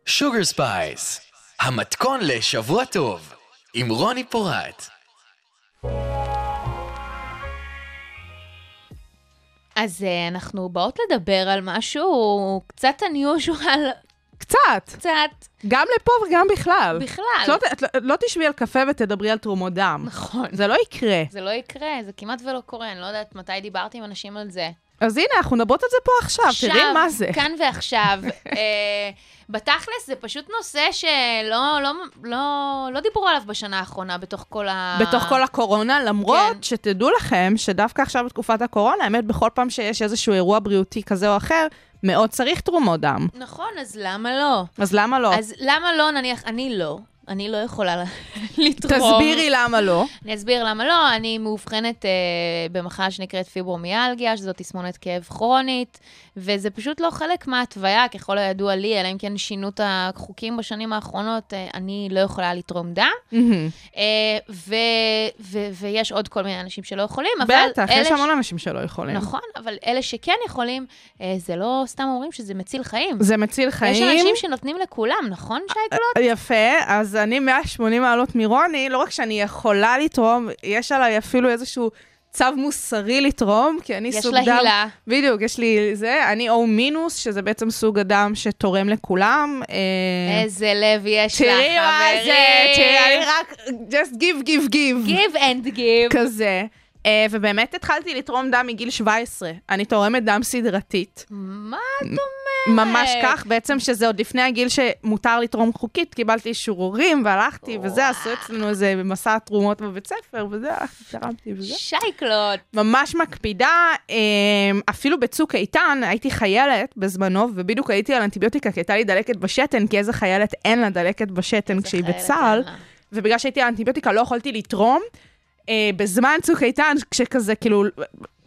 Speaker 3: שוגר ספייס, המתכון לשבוע טוב, עם רוני פורט.
Speaker 4: אז אה, אנחנו באות לדבר על משהו קצת unusual,
Speaker 5: קצת,
Speaker 4: קצת
Speaker 5: גם לפה וגם בכלל. את לא
Speaker 4: בכלל.
Speaker 5: ת- את לא- את לא תשבי על קפה ותדברי על תרומות דם.
Speaker 4: נכון.
Speaker 5: זה לא יקרה.
Speaker 4: זה לא יקרה, זה כמעט ולא קורה, אני לא יודעת מתי דיברתי עם אנשים על זה.
Speaker 5: אז הנה, אנחנו מדברות על זה פה עכשיו, לא, תראי מה זה.
Speaker 4: כאן ועכשיו. אה, בתכלס, זה פשוט נושא שלא לא, לא, לא דיברו עליו בשנה האחרונה, בתוך כל ה...
Speaker 5: בתוך כל הקורונה, למרות
Speaker 4: כן.
Speaker 5: שתדעו לכם שדווקא עכשיו בתקופת הקורונה, האמת, בכל פעם שיש איזשהו אירוע בריאותי כזה או אחר, מאוד צריך תרומות דם.
Speaker 4: נכון, אז למה לא?
Speaker 5: אז למה לא?
Speaker 4: אז למה לא, נניח, אני לא. אני לא יכולה ל- לתרום.
Speaker 5: תסבירי למה לא.
Speaker 4: אני אסביר למה לא. אני מאובחנת אה, במחלה שנקראת פיברומיאלגיה, שזו תסמונת כאב כרונית, וזה פשוט לא חלק מההתוויה, ככל הידוע לי, אלא אם כן שינו את החוקים בשנים האחרונות, אה, אני לא יכולה לתרום דם.
Speaker 5: מהמם.
Speaker 4: אה, ו- ו- ויש עוד כל מיני אנשים שלא יכולים, אבל
Speaker 5: בטח,
Speaker 4: אלה
Speaker 5: יש
Speaker 4: ש-
Speaker 5: המון אנשים שלא יכולים.
Speaker 4: נכון, אבל אלה שכן יכולים, אה, זה לא סתם אומרים שזה מציל חיים.
Speaker 5: זה מציל חיים. אה,
Speaker 4: יש אנשים שנותנים לכולם, נכון, שייקלוט?
Speaker 5: יפה, אז אני 180 מעלות מרוני, לא רק שאני יכולה לתרום, יש עליי אפילו איזשהו צו מוסרי לתרום, כי אני
Speaker 4: יש
Speaker 5: סוג
Speaker 4: לה
Speaker 5: דם...
Speaker 4: הילה.
Speaker 5: בדיוק, יש לי זה, אני O מינוס, שזה בעצם סוג אדם שתורם לכולם. אה,
Speaker 4: איזה לב יש לך,
Speaker 5: תראי מה
Speaker 4: חברים.
Speaker 5: זה, תראי, אני רק, just give, give, give,
Speaker 4: give and give.
Speaker 5: כזה. אה, ובאמת התחלתי לתרום דם מגיל 17. אני תורמת דם סדרתית.
Speaker 4: מה?
Speaker 5: ממש כך, בעצם שזה עוד לפני הגיל שמותר לתרום חוקית, קיבלתי אישורורים והלכתי וזה, עשו אצלנו איזה מסע תרומות בבית ספר וזה, הלכתי, תרמתי וזה.
Speaker 4: שייקלוט.
Speaker 5: ממש מקפידה, אמ, אפילו בצוק איתן, הייתי חיילת בזמנו, ובדיוק הייתי על אנטיביוטיקה, כי הייתה לי דלקת בשתן, כי איזה חיילת אין לה דלקת בשתן כשהיא
Speaker 4: חיילת,
Speaker 5: בצה"ל,
Speaker 4: יאללה.
Speaker 5: ובגלל שהייתי על אנטיביוטיקה לא יכולתי לתרום. אה, בזמן צוק איתן, כשכזה, כאילו,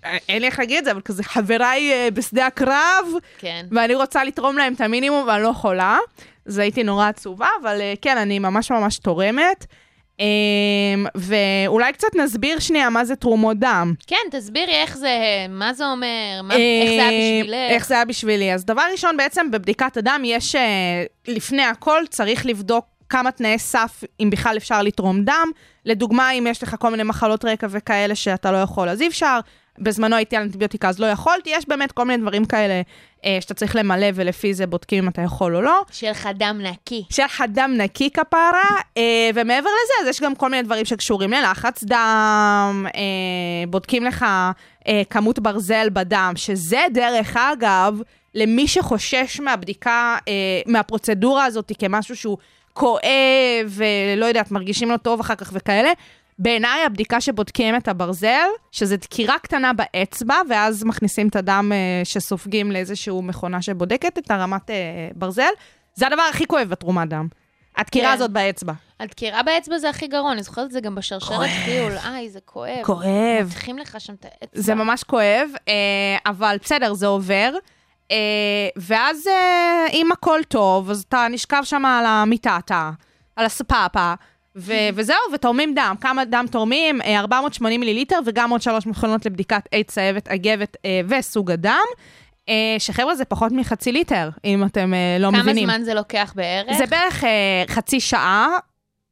Speaker 5: אה, אין לי איך להגיד את זה, אבל כזה חבריי אה, בשדה הקרב,
Speaker 4: כן.
Speaker 5: ואני רוצה לתרום להם את המינימום, ואני לא יכולה. אז הייתי נורא עצובה, אבל אה, כן, אני ממש ממש תורמת. אמ, ואולי קצת נסביר שנייה מה זה תרומות דם.
Speaker 4: כן, תסבירי איך זה, מה זה אומר, מה- איך זה היה
Speaker 5: אה,
Speaker 4: בשבילך.
Speaker 5: איך זה היה בשבילי. אז דבר ראשון, בעצם בבדיקת הדם יש, אה, לפני הכל צריך לבדוק כמה תנאי סף, אם בכלל אפשר לתרום דם. לדוגמה, אם יש לך כל מיני מחלות רקע וכאלה שאתה לא יכול, אז אי אפשר. בזמנו הייתי על אנטיביוטיקה, אז לא יכולתי. יש באמת כל מיני דברים כאלה אה, שאתה צריך למלא, ולפי זה בודקים אם אתה יכול או לא.
Speaker 4: שיהיה לך דם נקי.
Speaker 5: שיהיה לך דם נקי כפרה, אה, ומעבר לזה, אז יש גם כל מיני דברים שקשורים ללחץ דם, אה, בודקים לך אה, כמות ברזל בדם, שזה דרך אגב, למי שחושש מהבדיקה, אה, מהפרוצדורה הזאת כמשהו שהוא כואב, ולא יודעת, מרגישים לא טוב אחר כך וכאלה, בעיניי הבדיקה שבודקים את הברזל, שזה דקירה קטנה באצבע, ואז מכניסים את הדם אה, שסופגים לאיזושהי מכונה שבודקת את הרמת אה, ברזל, זה הדבר הכי כואב בתרומת דם. הדקירה
Speaker 4: כן.
Speaker 5: הזאת באצבע.
Speaker 4: הדקירה באצבע זה הכי גרון, אני זוכרת את זה גם בשרשרת חיול. איי, זה כואב.
Speaker 5: כואב.
Speaker 4: מותחים לך שם את האצבע.
Speaker 5: זה ממש כואב, אה, אבל בסדר, זה עובר. אה, ואז אה, אם הכל טוב, אז אתה נשכב שם על המיטה, אתה, על הספאפה, ו- וזהו, ותורמים דם. כמה דם תורמים? אה, 480 מיליליטר, וגם עוד שלוש מכונות לבדיקת עד צהבת, אגבת אה, וסוג הדם. אה, שחבר'ה, זה פחות מחצי ליטר, אם אתם אה, לא
Speaker 4: כמה
Speaker 5: מבינים.
Speaker 4: זמן זה לוקח בערך?
Speaker 5: זה בערך אה, חצי שעה,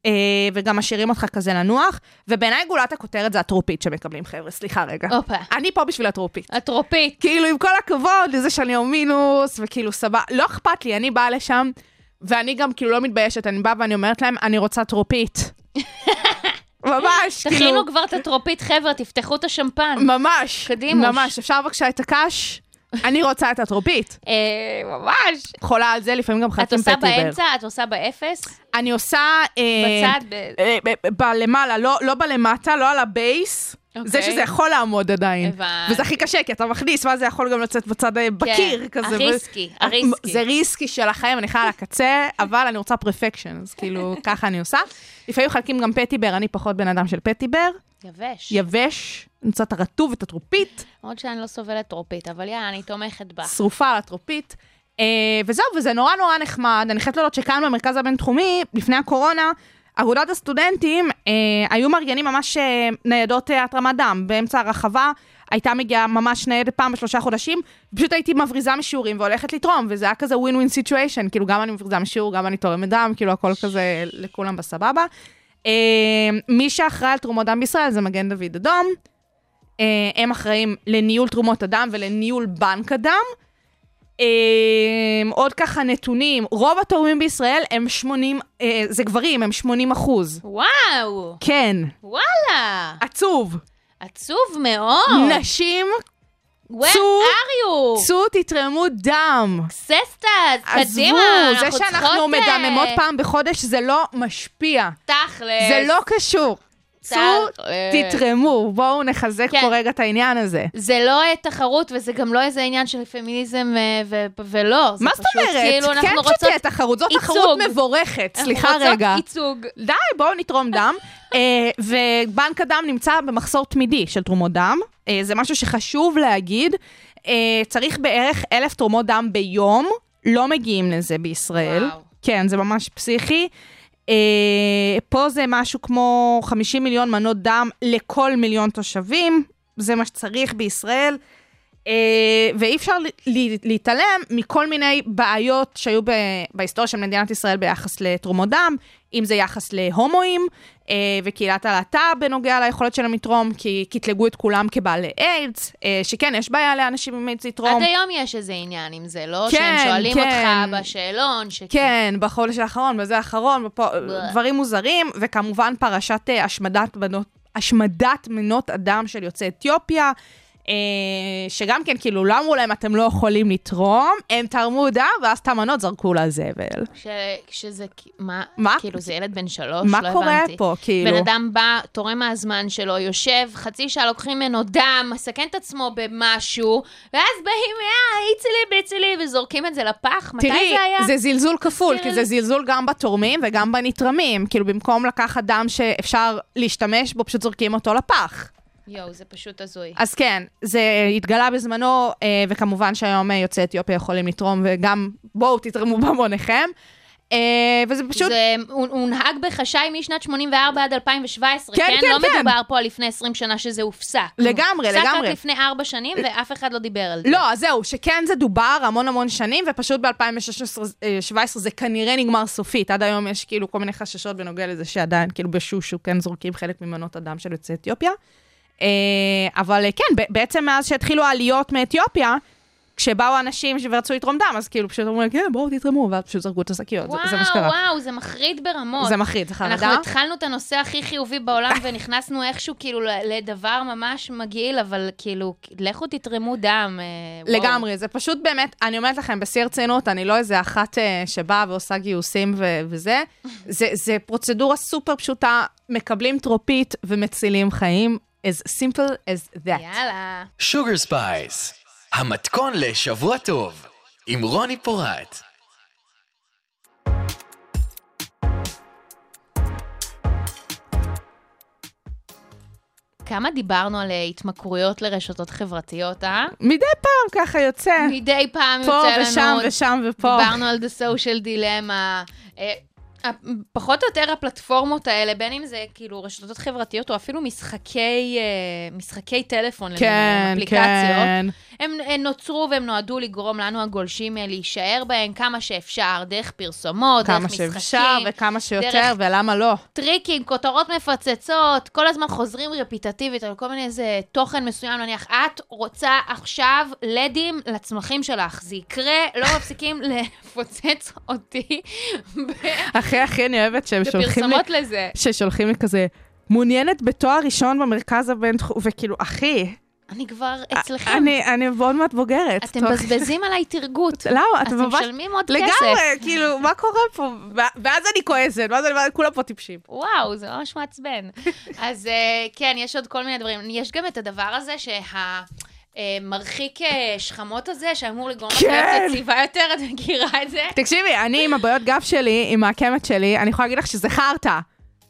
Speaker 5: אה, וגם משאירים אותך כזה לנוח, ובעיניי גולת הכותרת זה הטרופית שמקבלים, חבר'ה, סליחה רגע.
Speaker 4: הופה.
Speaker 5: אני פה בשביל הטרופית.
Speaker 4: הטרופית.
Speaker 5: כאילו, עם כל הכבוד לזה שאני או מינוס, וכאילו, סבבה, לא אכפת לי, אני באה לשם, ואני גם כאילו לא מתביישת, אני באה ואני אומרת להם, אני רוצה טרופית. ממש, כאילו,
Speaker 4: תכינו כבר את הטרופית, חבר'ה, תפתחו את השמפן.
Speaker 5: ממש,
Speaker 4: קדימוש.
Speaker 5: ממש, אפשר בבקשה את הקש? אני רוצה את הטרופית.
Speaker 4: אה, ממש.
Speaker 5: חולה על זה, לפעמים גם
Speaker 4: את
Speaker 5: חצי
Speaker 4: עושה
Speaker 5: פטיבר.
Speaker 4: באמצע, את עושה באפס,
Speaker 5: אני עושה... אה,
Speaker 4: בצד, ב-
Speaker 5: אה, ב- ב- בלמעלה, לא, לא בלמטה, לא על הבייס, זה שזה יכול לעמוד עדיין.
Speaker 4: הבנתי.
Speaker 5: וזה הכי קשה, כי אתה מכניס, ואז זה יכול גם לצאת בצד אה, בקיר כזה. ו-
Speaker 4: הריסקי, הריסקי.
Speaker 5: זה ריסקי של החיים, אני חיה על הקצה, אבל אני רוצה פרפקשן, אז כאילו, ככה אני עושה. לפעמים מחלקים גם פטיבר, אני פחות בן אדם של פטיבר.
Speaker 4: יבש.
Speaker 5: יבש, אני רוצה את הרטוב, את הטרופית,
Speaker 4: למרות שאני לא סובלת טרופית, אבל יאללה, אני תומכת בה.
Speaker 5: שרופה על הטרופית. אה, וזהו, וזה נורא נורא נחמד. אני חייבת להודות שכאן במרכז הבינתחומי, לפני הקורונה, אגודת הסטודנטים אה, היו מארגנים ממש אה, ניידות אה, התרמת דם באמצע הרחבה. הייתה מגיעה ממש ניידת פעם בשלושה חודשים, פשוט הייתי מבריזה משיעורים והולכת לתרום, וזה היה כזה ווין ווין סיטואשן, כאילו גם אני מבריזה משיעור, גם אני תורמת דם, כאילו הכל כזה לכולם בסבבה. אה, מי שאחראי על תרומות דם בישראל זה מגן דוד אדום, אה, הם אחראים לניהול תרומות הדם ולניהול בנק הדם. אה, עוד ככה נתונים, רוב התורמים בישראל הם 80, אה, זה גברים, הם 80 אחוז.
Speaker 4: וואו,
Speaker 5: כן,
Speaker 4: וואלה,
Speaker 5: עצוב.
Speaker 4: עצוב מאוד.
Speaker 5: נשים,
Speaker 4: Where
Speaker 5: צור-
Speaker 4: are you?
Speaker 5: צאו תתרמו דם.
Speaker 4: ססטס,
Speaker 5: עזבו,
Speaker 4: קדימה,
Speaker 5: זה
Speaker 4: אנחנו
Speaker 5: שאנחנו
Speaker 4: צריכות, אה,
Speaker 5: מדממות פעם בחודש, זה לא משפיע.
Speaker 4: תכלס.
Speaker 5: זה לא אה, קשור. צאו,
Speaker 4: תכלס.
Speaker 5: תתרמו, בואו נחזק
Speaker 4: אה. כן.
Speaker 5: פה רגע את העניין הזה.
Speaker 4: זה לא אה, תחרות וזה גם לא איזה עניין של פמיניזם אה, ו- ו- ולא. זה
Speaker 5: מה
Speaker 4: פשוט
Speaker 5: זאת אומרת?
Speaker 4: כאילו אנחנו
Speaker 5: כן
Speaker 4: רוצות...
Speaker 5: שתהיה תחרות, זאת תחרות
Speaker 4: ייצוג.
Speaker 5: מבורכת. סליחה
Speaker 4: אנחנו רוצות
Speaker 5: רגע.
Speaker 4: ייצוג.
Speaker 5: די, בואו נתרום דם. אה, ובנק הדם נמצא במחסור תמידי של תרומות דם. אה, זה משהו שחשוב להגיד. אה, צריך בערך אלף תרומות דם ביום, לא מגיעים לזה בישראל.
Speaker 4: וואו.
Speaker 5: כן, זה ממש פסיכי. אה, פה זה משהו כמו 50 מיליון מנות דם לכל מיליון תושבים, זה מה שצריך בישראל. אה, ואי אפשר ל- ל- להתעלם מכל מיני בעיות שהיו ב- בהיסטוריה של מדינת ישראל ביחס לתרומות דם, אם זה יחס להומואים אה, וקהילת הלהט"ב בנוגע ליכולת שלהם לתרום, כי קטלגו את כולם כבעלי איידס, אה, שכן, יש בעיה לאנשים עם איידס לתרום.
Speaker 4: עד היום יש איזה עניין עם זה, לא?
Speaker 5: כן,
Speaker 4: שהם שואלים
Speaker 5: כן.
Speaker 4: אותך בשאלון, שכן.
Speaker 5: כן, בחודש האחרון, בזה האחרון, בפו...
Speaker 4: בלה.
Speaker 5: דברים מוזרים, וכמובן פרשת אה, השמדת בנות, השמדת מנות אדם של יוצאי אתיופיה, אה, שגם כן, כאילו, לא אמרו להם, אתם לא יכולים לתרום, הם תרמו דם, ואז את המנות זרקו לזבל.
Speaker 4: ש... שזה, כ- מה,
Speaker 5: מה?
Speaker 4: כאילו זה ילד בן שלוש,
Speaker 5: מה
Speaker 4: לא
Speaker 5: קורה
Speaker 4: הבנתי.
Speaker 5: פה, כאילו?
Speaker 4: בן אדם בא, תורם מהזמן שלו, יושב, חצי שעה לוקחים ממנו דם, מסכן את עצמו במשהו, ואז באים, אה, איצילי ביצילי, וזורקים את זה לפח? מתי
Speaker 5: תראי,
Speaker 4: זה היה?
Speaker 5: זה זלזול כפול,
Speaker 4: תראי.
Speaker 5: כי זה זלזול גם בתורמים וגם בנתרמים. כאילו, במקום לקחת דם שאפשר להשתמש בו, פשוט זורקים אותו לפח.
Speaker 4: יואו, זה פשוט הזוי.
Speaker 5: אז כן, זה התגלה בזמנו, אה, וכמובן שהיום אה, יוצאי אתיופיה יכולים לתרום, וגם בואו תתרמו במוניכם. אה, וזה פשוט...
Speaker 4: זה הוא- הוא הונהג בחשאי משנת 84 עד 2017,
Speaker 5: כן,
Speaker 4: כן?
Speaker 5: כן,
Speaker 4: לא
Speaker 5: כן.
Speaker 4: מדובר פה על לפני 20 שנה שזה הופסק.
Speaker 5: לגמרי,
Speaker 4: הופסק
Speaker 5: לגמרי.
Speaker 4: רק לפני 4 שנים, ואף אחד לא דיבר על זה.
Speaker 5: לא, אז זהו, שכן זה דובר המון המון שנים, ופשוט ב-2016-2017 זה כנראה נגמר סופית. עד היום יש כאילו כל מיני חששות בנוגע לזה שעדיין, כאילו בשושו כן זורקים חלק ממנות הדם של יוצאי אתיופיה. אה, אבל אה, כן, ב- בעצם מאז שהתחילו העליות מאתיופיה, כשבאו אנשים שרצו לתרום דם, אז כאילו פשוט אמרו להם, כן, בואו תתרמו, ואז פשוט זרקו את השקיות, זה,
Speaker 4: וואו,
Speaker 5: זה מה שקרה.
Speaker 4: וואו, זה מחריד ברמות.
Speaker 5: זה מחריד, זה חרדה.
Speaker 4: אנחנו התחלנו את הנושא הכי חיובי בעולם ונכנסנו איכשהו כאילו ל- לדבר ממש מגעיל, אבל כאילו, לכו תתרמו דם. אה, וואו.
Speaker 5: לגמרי, זה פשוט באמת, אני אומרת לכם בשיא הרצינות, אני לא איזה אחת אה, שבאה ועושה גיוסים ו- וזה, זה, זה פרוצדורה סופר פשוטה, מקבלים טרופית ומצילים חיים, as simple as that.
Speaker 4: יאללה.
Speaker 3: שוגר ספייס, המתכון לשבוע טוב, עם רוני פורט.
Speaker 4: כמה דיברנו על אה, התמכרויות לרשתות חברתיות, אה?
Speaker 5: מדי פעם ככה יוצא,
Speaker 4: מדי פעם יוצא
Speaker 5: כן. פה
Speaker 4: לנו...
Speaker 5: ושם ושם ופה.
Speaker 4: דיברנו על The Social Dilemma. אה, ה- פחות או יותר הפלטפורמות האלה, בין אם זה כאילו רשתות חברתיות או אפילו משחקי, אה, משחקי טלפון, למיניהם,
Speaker 5: כן,
Speaker 4: אפליקציות,
Speaker 5: כן.
Speaker 4: הם, הם נוצרו והם נועדו לגרום לנו הגולשים אה, להישאר בהם כמה שאפשר, דרך פרסומות, דרך
Speaker 5: כמה
Speaker 4: משחקים,
Speaker 5: שאפשר וכמה שיותר,
Speaker 4: דרך-
Speaker 5: ולמה לא?
Speaker 4: טריקים, כותרות מפצצות, כל הזמן חוזרים רפיטטיבית על כל מיני איזה תוכן מסוים, נניח, את רוצה עכשיו לדים לצמחים שלך, זה יקרה, לא מפסיקים לפוצץ אותי ב-
Speaker 5: הכי הכי אני אוהבת שהם שולחים לי
Speaker 4: בפרסומות לזה.
Speaker 5: ששולחים לי כזה, מעוניינת בתואר ראשון במרכז הבינתחומי, וכאילו, אחי,
Speaker 4: אני כבר אצלכם.
Speaker 5: אה, אני, אני עוד מעט בוגרת.
Speaker 4: אתם
Speaker 5: טוב.
Speaker 4: מבזבזים עליי תרגות.
Speaker 5: למה? אתם
Speaker 4: אתם
Speaker 5: לא, ממש...
Speaker 4: משלמים עוד כסף.
Speaker 5: לגמרי, כאילו, מה קורה פה? ו- ואז אני כועסת, ואז אני... כולם פה טיפשים.
Speaker 4: וואו, זה ממש מעצבן. אז אה, כן, יש עוד כל מיני דברים. יש גם את הדבר הזה שה... אה, מרחיק אה, שכמות הזה, שאמור לגרום לך
Speaker 5: כן.
Speaker 4: להיות יציבה יותר, את מכירה את זה?
Speaker 5: תקשיבי, אני עם הבעיות גב שלי, עם העקמת שלי, אני יכולה להגיד לך שזה חרטא.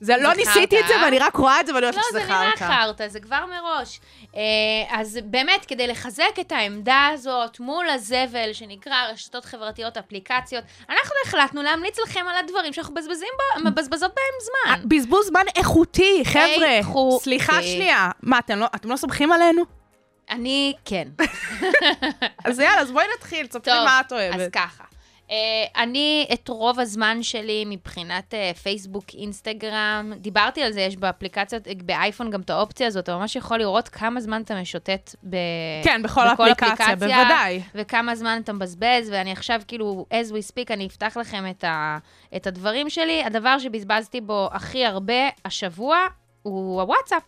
Speaker 5: זה לא
Speaker 4: זה
Speaker 5: ניסיתי את זה,
Speaker 4: חרטא?
Speaker 5: ואני רק רואה את זה, ואני אומרת
Speaker 4: לא,
Speaker 5: שזה
Speaker 4: זה נראה
Speaker 5: חרטא.
Speaker 4: חרטא, זה כבר מראש. אה, אז באמת, כדי לחזק את העמדה הזאת מול הזבל שנקרא רשתות חברתיות, אפליקציות, אנחנו החלטנו להמליץ לכם על הדברים שאנחנו מבזבזים בו- מבזבזות בהם זמן.
Speaker 5: אה, בזבוז זמן איכותי, חבר'ה.
Speaker 4: איכותי.
Speaker 5: סליחה שנייה. מה, אתם לא- אתם לא סומכים עלינו?
Speaker 4: אני, כן.
Speaker 5: אז יאללה, אז בואי נתחיל, תספרי מה את אוהבת.
Speaker 4: אז ככה. Uh, אני את רוב הזמן שלי מבחינת uh, פייסבוק, אינסטגרם, דיברתי על זה, יש באפליקציות, אה, באייפון גם את האופציה הזאת, אתה ממש יכול לראות כמה זמן אתה משוטט ב...
Speaker 5: כן, בכל אפליקציה, בוודאי.
Speaker 4: וכמה זמן אתה מבזבז, ואני עכשיו כאילו, as we speak, אני אפתח לכם את, ה, את הדברים שלי. הדבר שבזבזתי בו הכי הרבה השבוע הוא הוואטסאפ.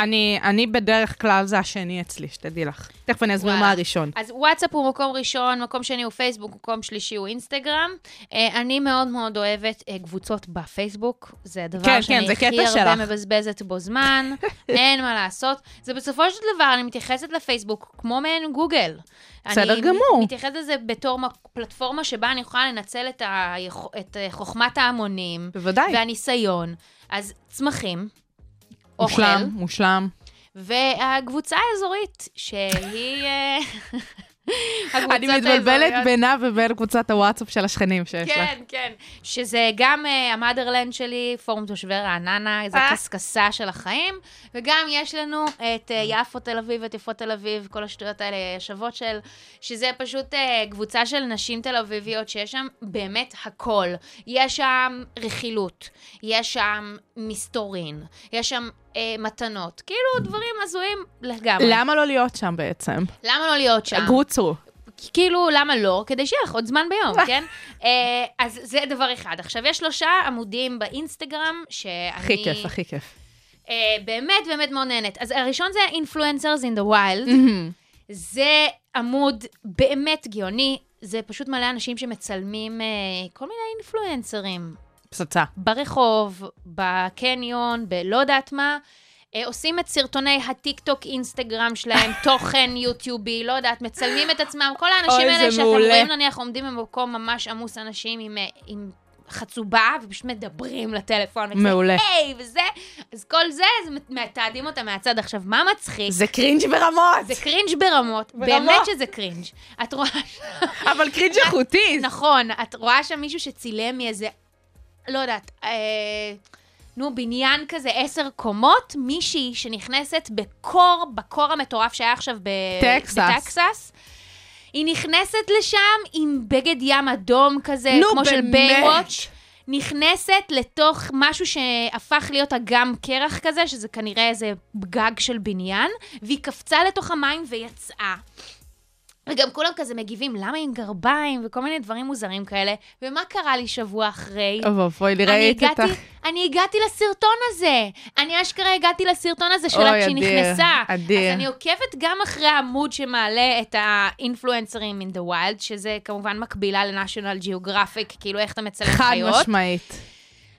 Speaker 5: אני, אני בדרך כלל זה השני אצלי, שתדעי לך. תכף אני אסביר
Speaker 4: וואלה.
Speaker 5: מה הראשון.
Speaker 4: אז וואטסאפ הוא מקום ראשון, מקום שני הוא פייסבוק, מקום שלישי הוא אינסטגרם. אה, אני מאוד מאוד אוהבת אה, קבוצות בפייסבוק, זה הדבר
Speaker 5: כן,
Speaker 4: שאני
Speaker 5: כן, זה
Speaker 4: הכי
Speaker 5: קטע
Speaker 4: הרבה
Speaker 5: שלך.
Speaker 4: מבזבזת בו זמן, אין מה לעשות. זה בסופו של דבר, אני מתייחסת לפייסבוק כמו מעין גוגל.
Speaker 5: בסדר
Speaker 4: אני
Speaker 5: גמור.
Speaker 4: מתייחסת לזה בתור מק- פלטפורמה שבה אני יכולה לנצל את, ה... את אה, חוכמת ההמונים
Speaker 5: בוודאי.
Speaker 4: והניסיון. אז צמחים, אוכל,
Speaker 5: מושלם, מושלם.
Speaker 4: והקבוצה האזורית, שהיא... אה, הקבוצות
Speaker 5: אני מתבלבלת
Speaker 4: האזוריות.
Speaker 5: בינה ובין קבוצת הוואטסאפ של השכנים שיש לך.
Speaker 4: כן, כן. שזה גם אה, המאדרלנד שלי, פורום תושבי רעננה, איזו
Speaker 5: אה.
Speaker 4: קסקסה של החיים, וגם יש לנו את אה, יפו תל אביב, את יפו תל אביב, כל השטויות האלה השוות של, שזה פשוט אה, קבוצה של נשים תל אביביות שיש שם באמת הכל. יש שם רכילות, יש שם מסתורין, יש שם אה, מתנות, כאילו דברים הזויים לגמרי.
Speaker 5: למה לא להיות שם בעצם?
Speaker 4: למה לא להיות כן. שם?
Speaker 5: רוצו.
Speaker 4: כאילו, למה לא? כדי שיהיה לך עוד זמן ביום, כן? אה, אז זה דבר אחד. עכשיו, יש שלושה עמודים באינסטגרם, שאני...
Speaker 5: הכי כיף, הכי כיף.
Speaker 4: אה, באמת באמת מאוד נהנית. אז הראשון זה Influencers in the Wild. זה עמוד באמת גאוני. זה פשוט מלא אנשים שמצלמים אה, כל מיני אינפלואנסרים.
Speaker 5: פצצה.
Speaker 4: ברחוב, בקניון, בלא יודעת מה. אה, עושים את סרטוני הטיק-טוק אינסטגרם שלהם, תוכן יוטיובי, לא יודעת, מצלמים את עצמם, כל האנשים
Speaker 5: אוי,
Speaker 4: האלה
Speaker 5: זה
Speaker 4: שאתם
Speaker 5: מעולה.
Speaker 4: רואים נניח עומדים במקום ממש עמוס אנשים עם, אה, עם חצובה, ופשוט מדברים לטלפון, וכזה,
Speaker 5: מעולה.
Speaker 4: היי, וזה, אז כל זה, אז מתעדים אותם מהצד. עכשיו, מה מצחיק?
Speaker 5: זה קרינג' ברמות!
Speaker 4: זה קרינג' ברמות,
Speaker 5: ברמות.
Speaker 4: באמת שזה קרינג'. את רואה...
Speaker 5: אבל קרינג' איכותי!
Speaker 4: נכון, את רואה שם מישהו שצילם מאיזה, לא יודעת, אה, נו, בניין כזה עשר קומות, מישהי שנכנסת בקור, בקור המטורף שהיה עכשיו ב-
Speaker 5: טקסס.
Speaker 4: בטקסס. היא נכנסת לשם עם בגד ים אדום כזה,
Speaker 5: נו,
Speaker 4: כמו של
Speaker 5: באמת.
Speaker 4: ביירוואץ'. נכנסת לתוך משהו שהפך להיות אגם קרח כזה, שזה כנראה איזה גג של בניין, והיא קפצה לתוך המים ויצאה. וגם כולם כזה מגיבים, למה היא עם גרביים וכל מיני דברים מוזרים כאלה. ומה קרה לי שבוע אחרי?
Speaker 5: אוי ואבוי, לי
Speaker 4: אני
Speaker 5: ראיתי
Speaker 4: הגעתי,
Speaker 5: אותך.
Speaker 4: אני הגעתי לסרטון הזה. אני אשכרה הגעתי לסרטון הזה שלה
Speaker 5: אוי,
Speaker 4: כשהיא
Speaker 5: אדיר,
Speaker 4: נכנסה.
Speaker 5: אדיר.
Speaker 4: אז אני עוקבת גם אחרי העמוד שמעלה את האינפלואנסרים in the wild, שזה כמובן מקבילה לנשיונל ג'יוגרפיק, כאילו איך אתה מצלם
Speaker 5: חד
Speaker 4: חיות.
Speaker 5: משמעית.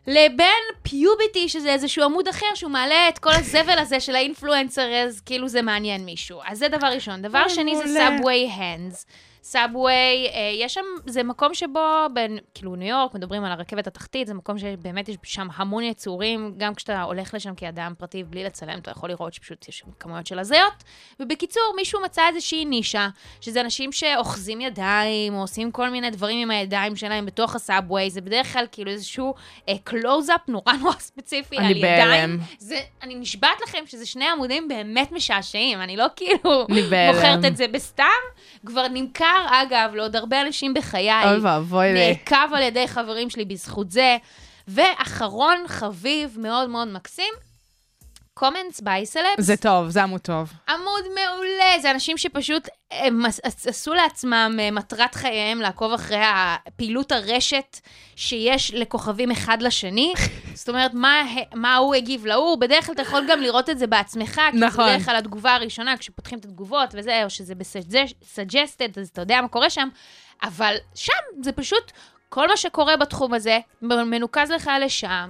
Speaker 4: לבין פיוביטי, שזה איזשהו עמוד אחר, שהוא מעלה את כל הזבל הזה של האינפלואנסר, אז כאילו זה מעניין מישהו. אז זה דבר ראשון. דבר
Speaker 5: אוי,
Speaker 4: שני זה
Speaker 5: מעולה.
Speaker 4: סאבווי הנדס. סאבווי, אה, יש שם, זה מקום שבו, בין, כאילו ניו יורק, מדברים על הרכבת התחתית, זה מקום שבאמת יש שם המון יצורים, גם כשאתה הולך לשם כאדם פרטי בלי לצלם, אתה יכול לראות שפשוט יש שם כמויות של הזיות. ובקיצור, מישהו מצא איזושהי נישה, שזה אנשים שאוחזים ידיים, או עושים כל מיני דברים עם הידיים שלהם בתוך הסאבווי, זה בדרך כלל כאילו איזשהו אה, קלוז-אפ נורא נורא ספציפי
Speaker 5: אני
Speaker 4: על ידיים.
Speaker 5: בהלם.
Speaker 4: זה, אני נשבעת לכם שזה שני עמודים באמת משעשעים, אני לא כאילו
Speaker 5: אני בהלם.
Speaker 4: מוכרת את זה בסתם. כבר נמכר, אגב, לעוד הרבה אנשים בחיי.
Speaker 5: אוי ואבוי לי.
Speaker 4: נעקב על ידי חברים שלי בזכות זה. ואחרון חביב, מאוד מאוד מקסים, comments by celebs.
Speaker 5: זה טוב, זה עמוד טוב.
Speaker 4: עמוד מעולה, זה אנשים שפשוט הם עש- עש- עשו לעצמם אה, מטרת חייהם לעקוב אחרי הפעילות הרשת שיש לכוכבים אחד לשני. זאת אומרת, מה, ה- מה הוא הגיב להוא, בדרך כלל אתה יכול גם לראות את זה בעצמך, כי
Speaker 5: נכון.
Speaker 4: זה בדרך כלל התגובה הראשונה, כשפותחים את התגובות וזה, או שזה בסג'סטד, אז אתה יודע מה קורה שם, אבל שם זה פשוט, כל מה שקורה בתחום הזה מנוקז לך לשם.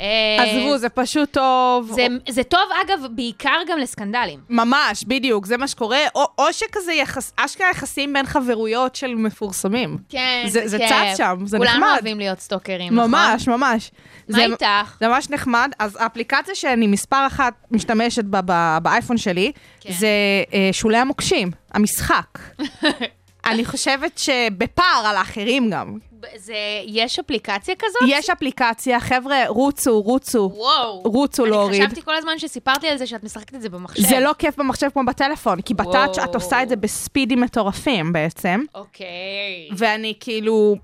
Speaker 4: אה,
Speaker 5: עזבו, זה פשוט טוב.
Speaker 4: זה, זה טוב, אגב, בעיקר גם לסקנדלים.
Speaker 5: ממש, בדיוק, זה מה שקורה. או, או שכזה יחס, אשכרה יחסים בין חברויות של מפורסמים.
Speaker 4: כן,
Speaker 5: זה- זה
Speaker 4: כיף.
Speaker 5: צץ שם, זה נחמד.
Speaker 4: כולנו אוהבים להיות סטוקרים, נכון?
Speaker 5: ממש, ממש.
Speaker 4: מה
Speaker 5: זה-
Speaker 4: איתך?
Speaker 5: זה ממש נחמד. אז האפליקציה שאני מספר אחת משתמשת בה ב- באייפון שלי,
Speaker 4: כן.
Speaker 5: זה אה, שולי המוקשים, המשחק. אני חושבת שבפער על האחרים גם.
Speaker 4: ב- זה... יש אפליקציה כזאת?
Speaker 5: יש אפליקציה, חבר'ה, רוצו, רוצו,
Speaker 4: וואו.
Speaker 5: רוצו להוריד.
Speaker 4: אני חשבתי כל הזמן שסיפרתי על זה שאת משחקת את זה במחשב.
Speaker 5: זה לא כיף במחשב כמו בטלפון, כי בטאץ'
Speaker 4: וואו.
Speaker 5: את עושה את זה בספידים מטורפים בעצם,
Speaker 4: אוקיי.
Speaker 5: ואני כאילו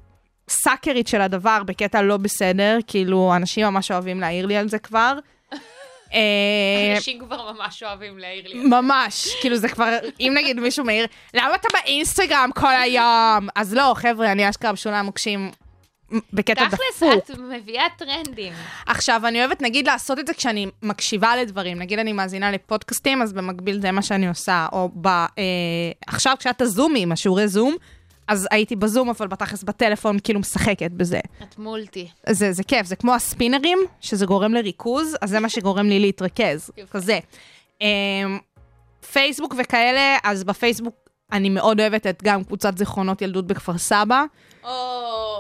Speaker 5: סאקרית של הדבר בקטע לא בסדר, כאילו אנשים ממש אוהבים להעיר לי על זה כבר. אה,
Speaker 4: אנשים כבר ממש אוהבים להעיר לי.
Speaker 5: ממש, כאילו זה כבר, אם נגיד מישהו מעיר, למה אתה באינסטגרם כל היום? אז לא, חבר'ה, אני אשכרה בשולה מוקשים בקטע
Speaker 4: תכלס, אה?
Speaker 5: דפוק.
Speaker 4: את מביאה טרנדים.
Speaker 5: עכשיו, אני אוהבת, נגיד, לעשות את זה כשאני מקשיבה לדברים. נגיד, אני מאזינה לפודקאסטים, אז במקביל זה מה שאני עושה. או ב... אה, עכשיו, כשאת הזומים, השיעורי זום, אז הייתי בזום, אבל בתכלס בטלפון, כאילו משחקת בזה.
Speaker 4: את מולטי.
Speaker 5: זה, זה כיף, זה כמו הספינרים, שזה גורם לריכוז, אז זה מה שגורם לי להתרכז,
Speaker 4: יופי.
Speaker 5: כזה. אמ, פייסבוק וכאלה, אז בפייסבוק אני מאוד אוהבת את גם קבוצת זיכרונות ילדות בכפר סבא,
Speaker 4: או,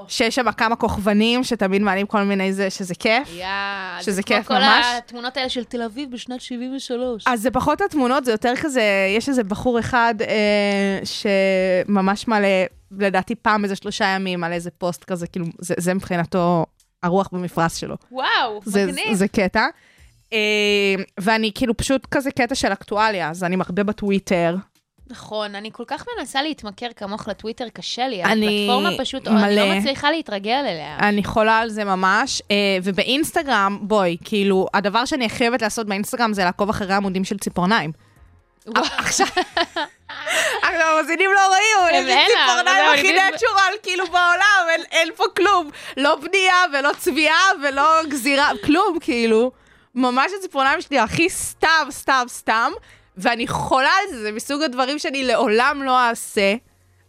Speaker 5: שיש שם כמה כוכבנים שתמיד מעלים כל מיני זה, שזה כיף.
Speaker 4: יאה.
Speaker 5: שזה
Speaker 4: זה
Speaker 5: כיף
Speaker 4: כמו
Speaker 5: ממש.
Speaker 4: כל התמונות האלה של תל אביב בשנת 73.
Speaker 5: אז זה פחות התמונות, זה יותר כזה, יש איזה בחור אחד אה, שממש מעלה, לדעתי פעם איזה שלושה ימים, על איזה פוסט כזה, כאילו, זה, זה מבחינתו הרוח במפרש שלו.
Speaker 4: וואו,
Speaker 5: זה,
Speaker 4: מגניב.
Speaker 5: זה קטע. אה, ואני כאילו פשוט כזה קטע של אקטואליה, אז אני הרבה בטוויטר.
Speaker 4: נכון, אני כל כך מנסה להתמכר כמוך לטוויטר, קשה לי.
Speaker 5: אני-
Speaker 4: הפלטפורמה פשוט, או, אני
Speaker 5: מלא.
Speaker 4: לא מצליחה להתרגל אליה.
Speaker 5: אני חולה על זה ממש. אה, ובאינסטגרם, בואי, כאילו, הדבר שאני הכי אוהבת לעשות באינסטגרם זה לעקוב אחרי עמודים של ציפורניים.
Speaker 4: וואו.
Speaker 5: עכשיו, עכשיו המאזינים לא ראו,
Speaker 4: הם
Speaker 5: איזה
Speaker 4: אין לה,
Speaker 5: ציפורניים
Speaker 4: אבל זהו,
Speaker 5: הכי
Speaker 4: אני-
Speaker 5: נטשורל כאילו בעולם, אין- אין פה כלום. לא בנייה ולא צביעה ולא גזירה, כלום כאילו. ממש הציפורניים שלי הכי סתם, סתם, סתם, ואני חולה על זה, זה מסוג הדברים שאני לעולם לא אעשה,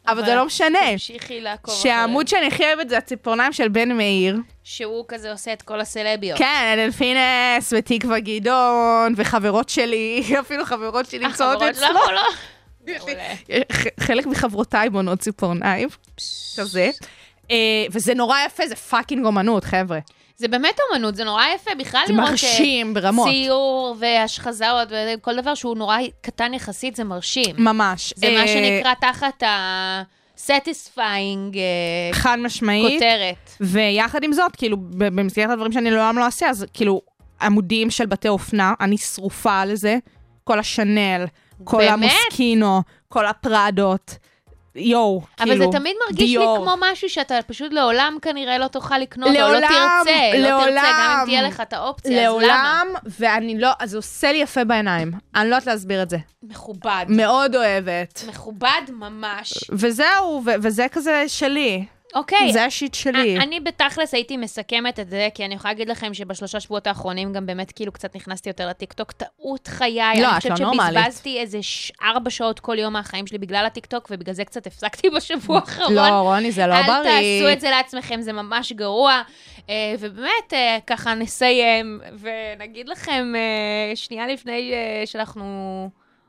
Speaker 5: אבל זה לא משנה.
Speaker 4: תמשיכי לעקוב אחריהם.
Speaker 5: שהעמוד שאני הכי אוהבת זה הציפורניים של בן מאיר.
Speaker 4: שהוא כזה עושה את כל הסלביות.
Speaker 5: כן, עדן פינס ותקווה גדעון וחברות שלי, אפילו חברות שלי נמצאות
Speaker 4: החברות-
Speaker 5: אצלו.
Speaker 4: אה, לא, לא. מעולה.
Speaker 5: ח- חלק מחברותיי בונות ציפורניים, כזה. אה, וזה נורא יפה, זה פאקינג אומנות, חבר'ה.
Speaker 4: זה באמת אומנות, זה נורא יפה בכלל
Speaker 5: זה
Speaker 4: לראות... אה,
Speaker 5: מרשים ברמות.
Speaker 4: ציור והשחזות וכל דבר שהוא נורא קטן יחסית, זה מרשים.
Speaker 5: ממש.
Speaker 4: זה
Speaker 5: אה,
Speaker 4: מה שנקרא תחת ה-satisfying אה,
Speaker 5: חד משמעית.
Speaker 4: כותרת.
Speaker 5: ויחד עם זאת, כאילו, ב- במסגרת הדברים שאני לעולם לא אעשה, אז כאילו, עמודים של בתי אופנה, אני שרופה על זה. כל השנל, כל
Speaker 4: באמת?
Speaker 5: המוסקינו, כל הפרדות. יואו, כאילו,
Speaker 4: אבל זה תמיד מרגיש לי
Speaker 5: דיור.
Speaker 4: כמו משהו שאתה פשוט לעולם כנראה לא תוכל לקנות, או לא
Speaker 5: לעולם,
Speaker 4: תרצה. לא תרצה, גם
Speaker 5: לעולם.
Speaker 4: אם תהיה לך את האופציה, אז למה?
Speaker 5: לעולם, ואני לא, אז זה עושה לי יפה בעיניים. אני לא יודעת להסביר את זה.
Speaker 4: מכובד.
Speaker 5: מאוד אוהבת.
Speaker 4: מכובד ממש.
Speaker 5: וזהו, ו- וזה כזה שלי.
Speaker 4: אוקיי,
Speaker 5: זה השיט שלי.
Speaker 4: א- אני בתכלס הייתי מסכמת את זה, כי אני יכולה להגיד לכם שבשלושה שבועות האחרונים גם באמת כאילו קצת נכנסתי יותר לטיקטוק. טעות חיי.
Speaker 5: לא,
Speaker 4: אני
Speaker 5: את
Speaker 4: חושבת
Speaker 5: לא נורמלית.
Speaker 4: שבזבזתי איזה ש- ארבע שעות כל יום מהחיים שלי בגלל הטיקטוק, ובגלל זה קצת הפסקתי בשבוע האחרון.
Speaker 5: לא, רוני, זה לא
Speaker 4: אל
Speaker 5: בריא.
Speaker 4: תעשו את זה לעצמכם, זה ממש גרוע. אה, ובאמת, אה, ככה נסיים, ונגיד לכם, אה, שנייה לפני אה, שאנחנו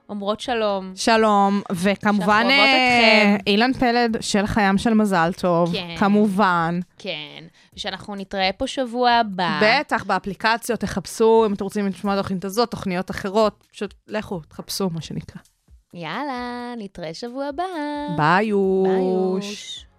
Speaker 4: אומרות שלום.
Speaker 5: שלום, וכמובן
Speaker 4: שאנחנו אוהבות
Speaker 5: אה,
Speaker 4: אתכם.
Speaker 5: אילן פלד של חיים של מזל טוב,
Speaker 4: כן.
Speaker 5: כמובן.
Speaker 4: כן, ושאנחנו נתראה פה שבוע הבא.
Speaker 5: בטח באפליקציות, תחפשו, אם אתם רוצים לשמוע את התוכנית הזאת, תוכניות אחרות, פשוט לכו, תחפשו, מה שנקרא.
Speaker 4: יאללה, נתראה שבוע הבא.
Speaker 5: ביוש.
Speaker 4: אה. ביי.